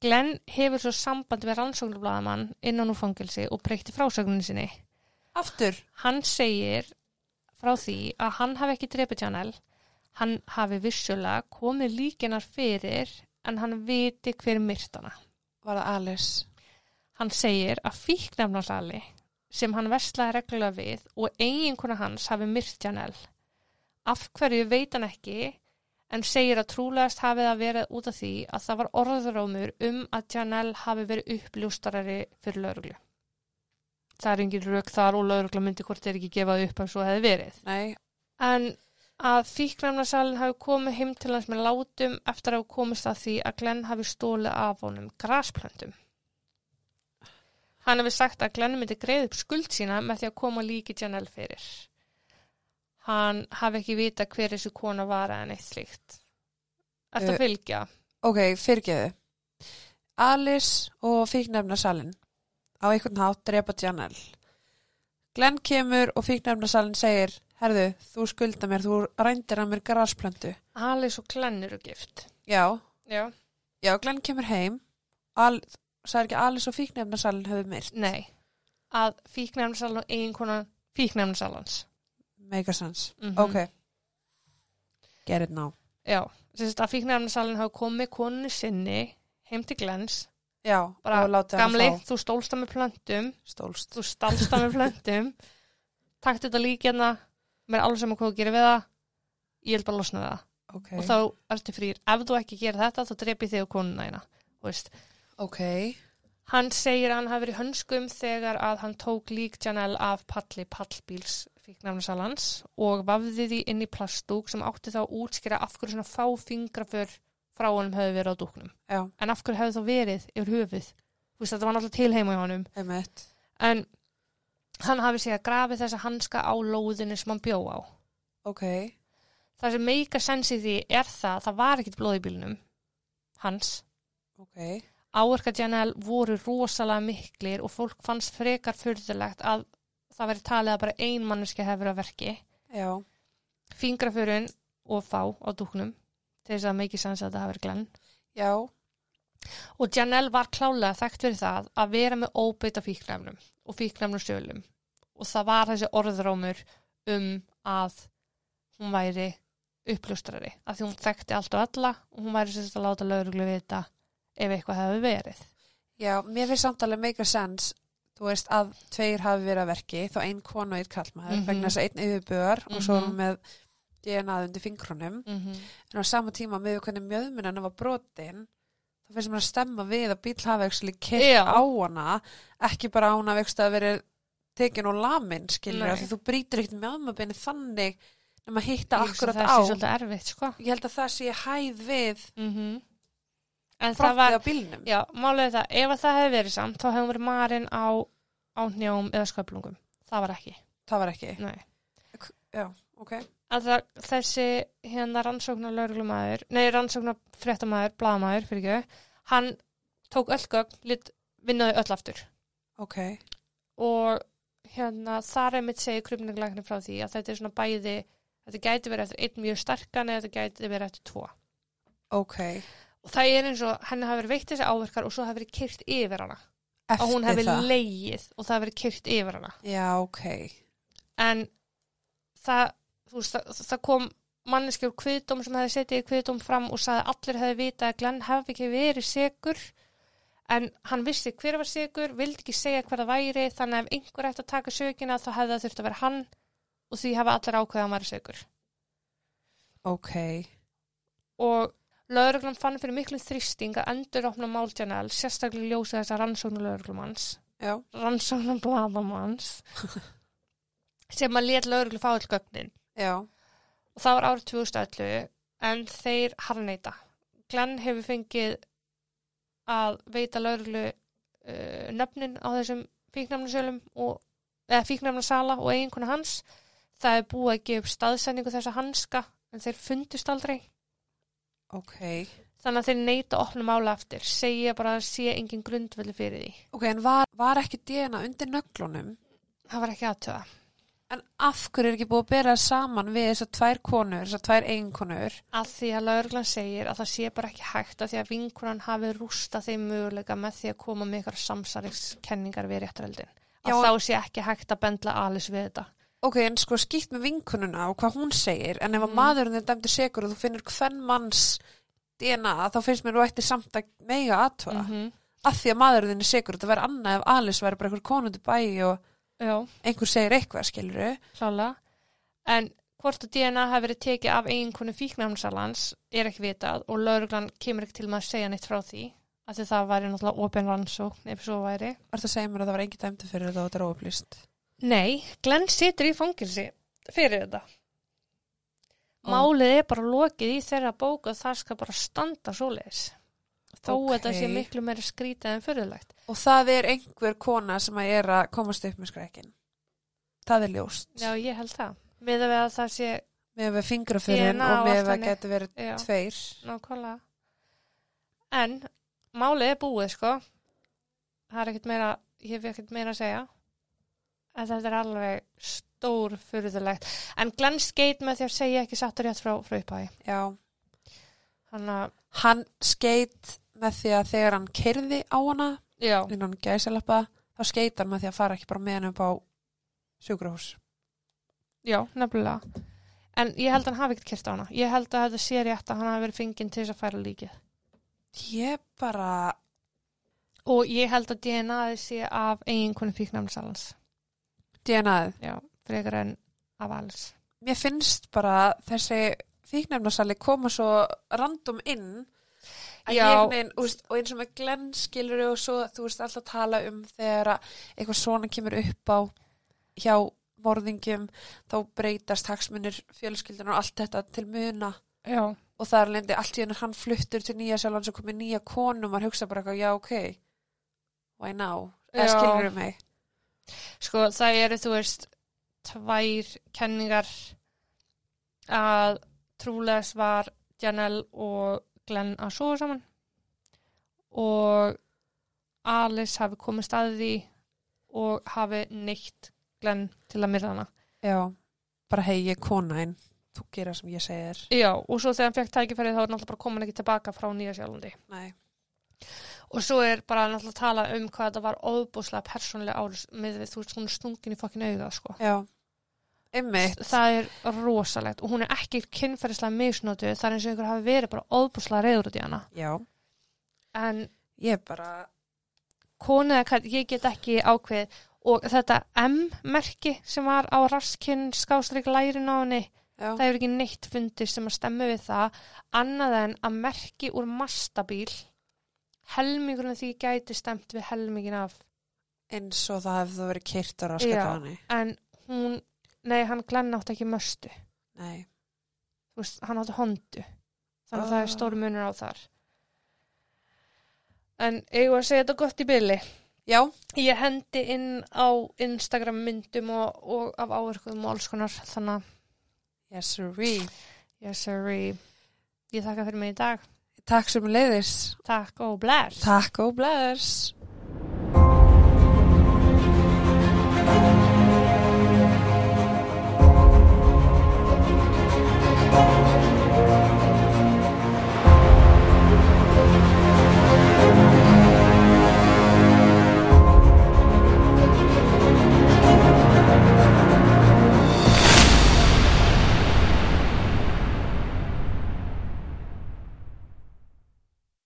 Glenn hefur svo samband við rannsóknarblaðamann innan úr fangelsi og breyti frásögnin sinni.
Aftur.
Hann segir frá því að hann hafi ekki drepið Janel, hann hafi vissulega komið líkinar fyrir en hann viti hver myrtana.
Var það Alice?
Hann segir að fíknefnarsali sem hann verslaði reglulega við og eiginkona hans hafi myrt Janel. Af hverju veit hann ekki en segir að trúlegast hafi það verið út af því að það var orðrómur um að Janel hafi verið uppljústarari fyrir lauruglu. Það er engin rauk þar og laurugla myndi hvort er ekki gefað upp að svo hefði verið.
Nei,
En að fíknæmnasalinn hafi komið heim til hans með látum eftir að hafa komist að því að Glenn hafi stólið af honum grasplöntum. Hann hefur sagt að Glenn myndi greið upp skuld sína með því að koma líki Janel fyrir. Hann hafi ekki vita hver þessu kona var eða neitt slíkt. Eftir
Eh,
að fylgja.
ok, fyrirgeðu. Alice og fíknefna salin á einhvern hátt drepa Janel. Glenn kemur og fíknefna salin segir, herðu, þú skulda mér, þú rændir að mér grasplöndu.
Alice og Glenn eru gift.
Já,
Já.
já, Glenn kemur heim. Al, sagði ekki að Alice og fíknefna salin höfðu myrt.
Nei. Að fíknæmnasalinn og eiginkona fíknæmnasalans.
Make a sense.
Mm
Ok. Get it now.
Já, sérst að fíknæfnasalinn hafa komið konu sinni heim til glens,
Já,
Bara
og láta hann
gamli,
fá
þú stólst það með plöntum,
stólst.
þú stálst það með plöntum, takt þetta líki hérna, mér er alveg sem að hvað þú gerir við það, ég vil bara losna við það.
Ok,
Og þá ertu frýr, ef þú ekki gerir þetta, þá drepi þig og konuna hérna, þú veist.
ok,
Hann segir að hann hafi verið hönskum þegar að hann tók lík Janel af palli pallbíls fíknæfnasalans og vafði því inn í plastdúk sem átti þá að útskýra af hverju svona fá fingraför frá honum höfðu verið á dúknum.
já,
en af hverju hefði þá verið yfir höfuð þú veist þetta var náttúrulega til heima hjá honum
einmitt.
en hann hafi sig að grafi þessa hanska á lóðinu sem hann bjó á
Ok,
það sem meika sens í því er það að það var ekkit blóð í bílnum hans
ok,
áverka Janel voru rosalega miklir og fólk fannst frekar furðulegt að það veri talið að bara ein manneski hefur að verki
já,
fingraförun og fá á dúknum til þess að meiki sens að þetta hafi verið glenn
já,
Og Janelle var klálega þekkt fyrir það að vera með óbeita fíknæfnum og fíknæfnum sjölum. Og það var þessi orðrómur um að hún væri upplustrari. Af því hún þekkti allt og alla og hún væri sérst að láta lögreglu vita ef eitthvað hefði verið.
já, mér finnst samtalið make a sense, þú veist að tveir hafi verið að verki, þá ein konu og einn kallmaður,
Mhm.
vegna þess að einn yfirbör og svo er hún
Mhm.
með DNAð undir fingrunum,
Mm -hmm.
en á sama tíma með hvernig mjöðmunan var brotin, þá finnst mér að stemma við að bíl hafi ekki
Já.
kilt á hana, ekki bara að hún hafi ekki verið tekin og lamin, skilur,
Nei.
af því þú brýtur ekkert mjöðmabinni þannig nema hitta
Það
akkurat
sé
á.
svolítið erfitt, sko.
Ég held að það sé hæð við
Mm En það var,
framtíð á bílnum.
já, málið er það, ef að það hefði verið samt, þá hefði hún verið marinn á, á hnjóm eða sköplungum. Það var ekki,
Það var ekki.
nei.
Ok.
að það, þessi hérna rannsóknar lauruglumæður, nei rannsóknar fréttamæður, blaðamæður fyrir ekki, hann tók öll gögn, lit, vinnaði öll aftur
Ok.
og hérna þar einmitt segir krumninglæknir frá því að þetta er svona bæði, þetta gæti verið eftir einn mjög starkan eða þetta gæti verið eftir tvo.
Ok.
Og það er eins og henni hafi verið veitt þessi áverkar og svo hafi verið kyrt yfir hana
Eftir
og hún hafi
það.
leið og það hafi verið kyrt yfir hana.
Já, ok.
en það, þú veist, það, það kom manneskjur kviðdóm sem hefði setið í kviðdóm fram og sagði að allir hefði vitað að Glenn hefði ekki verið segur en hann vissi hver var segur, vildi ekki segja hver það væri þannig að ef einhver ætti að taka sögina þá hefði það þurft að vera hann og því hefði allir ákveðið að hann væri segur
Ok.
og lögreglan fann fyrir miklu þrýsting að endur opna máltjanel sérstaklega í ljósi þess að rannsóknu lögreglumanns
Já.
rannsóknan bladamanns sem að lét lögreglu fá all gögnin
Já.
og það var árið 2011 en þeir harneita Glenn hefur fengið að veita lauruglu uh, nöfnin á þessum fíknamnasölum og, eða fíknamnasala og eiginkona hans það er búið að gefa upp staðsendingu þessa hanska en þeir fundust aldrei
Ok.
þannig að þeir neita að opna mála aftur segja bara að sé engin grundvöldu fyrir því
Ok, en var, var ekki DNA undir nöglunum?
það var ekki aðtöða
En af hverju er ekki búið að bera það saman við þessar tvær konur, þessar tvær eiginkonur?
að því að lauruglan segir að það sé bara ekki hægt að því að vinkunan hafi rústa þeim möguleika með því að koma með ykkur samsarikskenningar við réttaröldin að
Já, en-
þá sé ekki hægt að bendla Alice við þetta
Ok, en sko skýtt með vinkununa og hvað hún segir, en ef að
Mhm.
maðurinn er dæmdur segur og þú finnur hvern manns DNA, þá finnst mér þú ættir samt að mega aðtöða.
-hmm.
að því að maðurinn þinn er sigur þetta væri annað ef Alice væri bara einhver konundu bæ og
já,
einhver segir eitthvað skiluru
klála en hvort að DNA hafi verið tekið af eiginkonu fíknæmnisalans er ekki vitað og lauruglan kemur ekki til með að segja neitt frá því af því það væri náttúrulega open rannsókn ef svo væri
Var það að segja mér að það var engin dæmdi fyrir þetta og þetta er óupplýst
Nei, Glenn situr í fangilsi fyrir þetta. Málið er bara lokið í þeirra bók og það skal bara standa svoleiðis. Þó
Ókei.
þetta sé miklu meira skrítið en fyrirlegt.
Og það er einhver kona sem að er að komast upp með skrækin Það er ljóst
Já, ég held það. Við að við að það sé
Með við fingrafyrin
DNA
og með
og allt
við að
þannig.
geta verið
já,
tveir
nákvæmlega. En málið er búið, sko. Það er ekkert meira, ég hef ekkert meira að segja. En þetta er alveg stór fyrirlegt. En Glenn skeit með því að segja ekki sattur rétt frá, frá upphæði.
Já
Þannig að,
Hann skeit með því að þegar hann kerði á hana
já.
innan um gæsalappa þá skeitar með því að fara ekki bara með hann upp á sjúkrahús
Já, nefnilega. En ég held að hann hafi ekkert kert á hana. Ég held að þetta sé rétt að hann hafi verið fenginn til þess að færa líkið.
Ég bara
Og ég held að DNA-ið sé af eiginkonu fíknæmnisalans.
DNAð
Já, frekar en af alls.
Mér finnst bara þessi fíknefnarsali koma svo random inn að
Já.
ég neinn, úst, og eins og með Glenn skilur og svo þú veist alltaf að tala um þegar að eitthvað svona kemur upp á hjá morðingum þá breytast hagsmunir fjölskyldunar og allt þetta til muna
Já,
og það er lendi allt í hennu hann fluttur til nýja sjálf hans og komið nýja konum og maður hugsa bara eitthvað, já ok why now, eða
Já.
skilur mig
sko það eru, þú veist, tvær kenningar að trúlegs var Janelle og Glenn að sofa saman og Alice hafi komið staðið í og hafi neitt Glenn til að myrða hana.
já, bara hei ég er kona en þú gera sem ég segir
Já, og svo þegar hann fekk tækifærið þá er náttúrulega bara komin ekki tilbaka frá Nýja Sjálandi.
nei,
Og svo er bara náttúrulega að tala um hvað þetta var óbúslega persónulega árus með því þú veist, hún er stungin í fokkin auga, sko.
já einmitt
Það er rosalegt og hún er ekki kynferðislega misnotu, það er eins og ykkur hafi verið bara óbúslega reyður út í hana.
Já,
En
ég er bara
konu eða hvað, ég get ekki ákveðið og þetta M-merki sem var á raskinn skástrík lærin á henni,
já,
það hefur ekki neitt fundist sem að stemma við það annað en að merki úr mastabíl helmingurinn af því gæti stemt við helmingin af
eins og það hefði það verið kyrt á raskatani
en hún, nei hann Glenn átti ekki möstu,
Nei,
Þú veist, hann átti hondu þannig að það er
Ah.
stór munur á þar en eigum við að segja þetta gott í byli
já,
ég hendi inn á Instagram myndum og, og af áverkuðum og alls konar þannig að,
yes sirree
yes sorry ég þakka fyrir mig í dag,
Takk sem leiðis
takk og bless
Takk og bless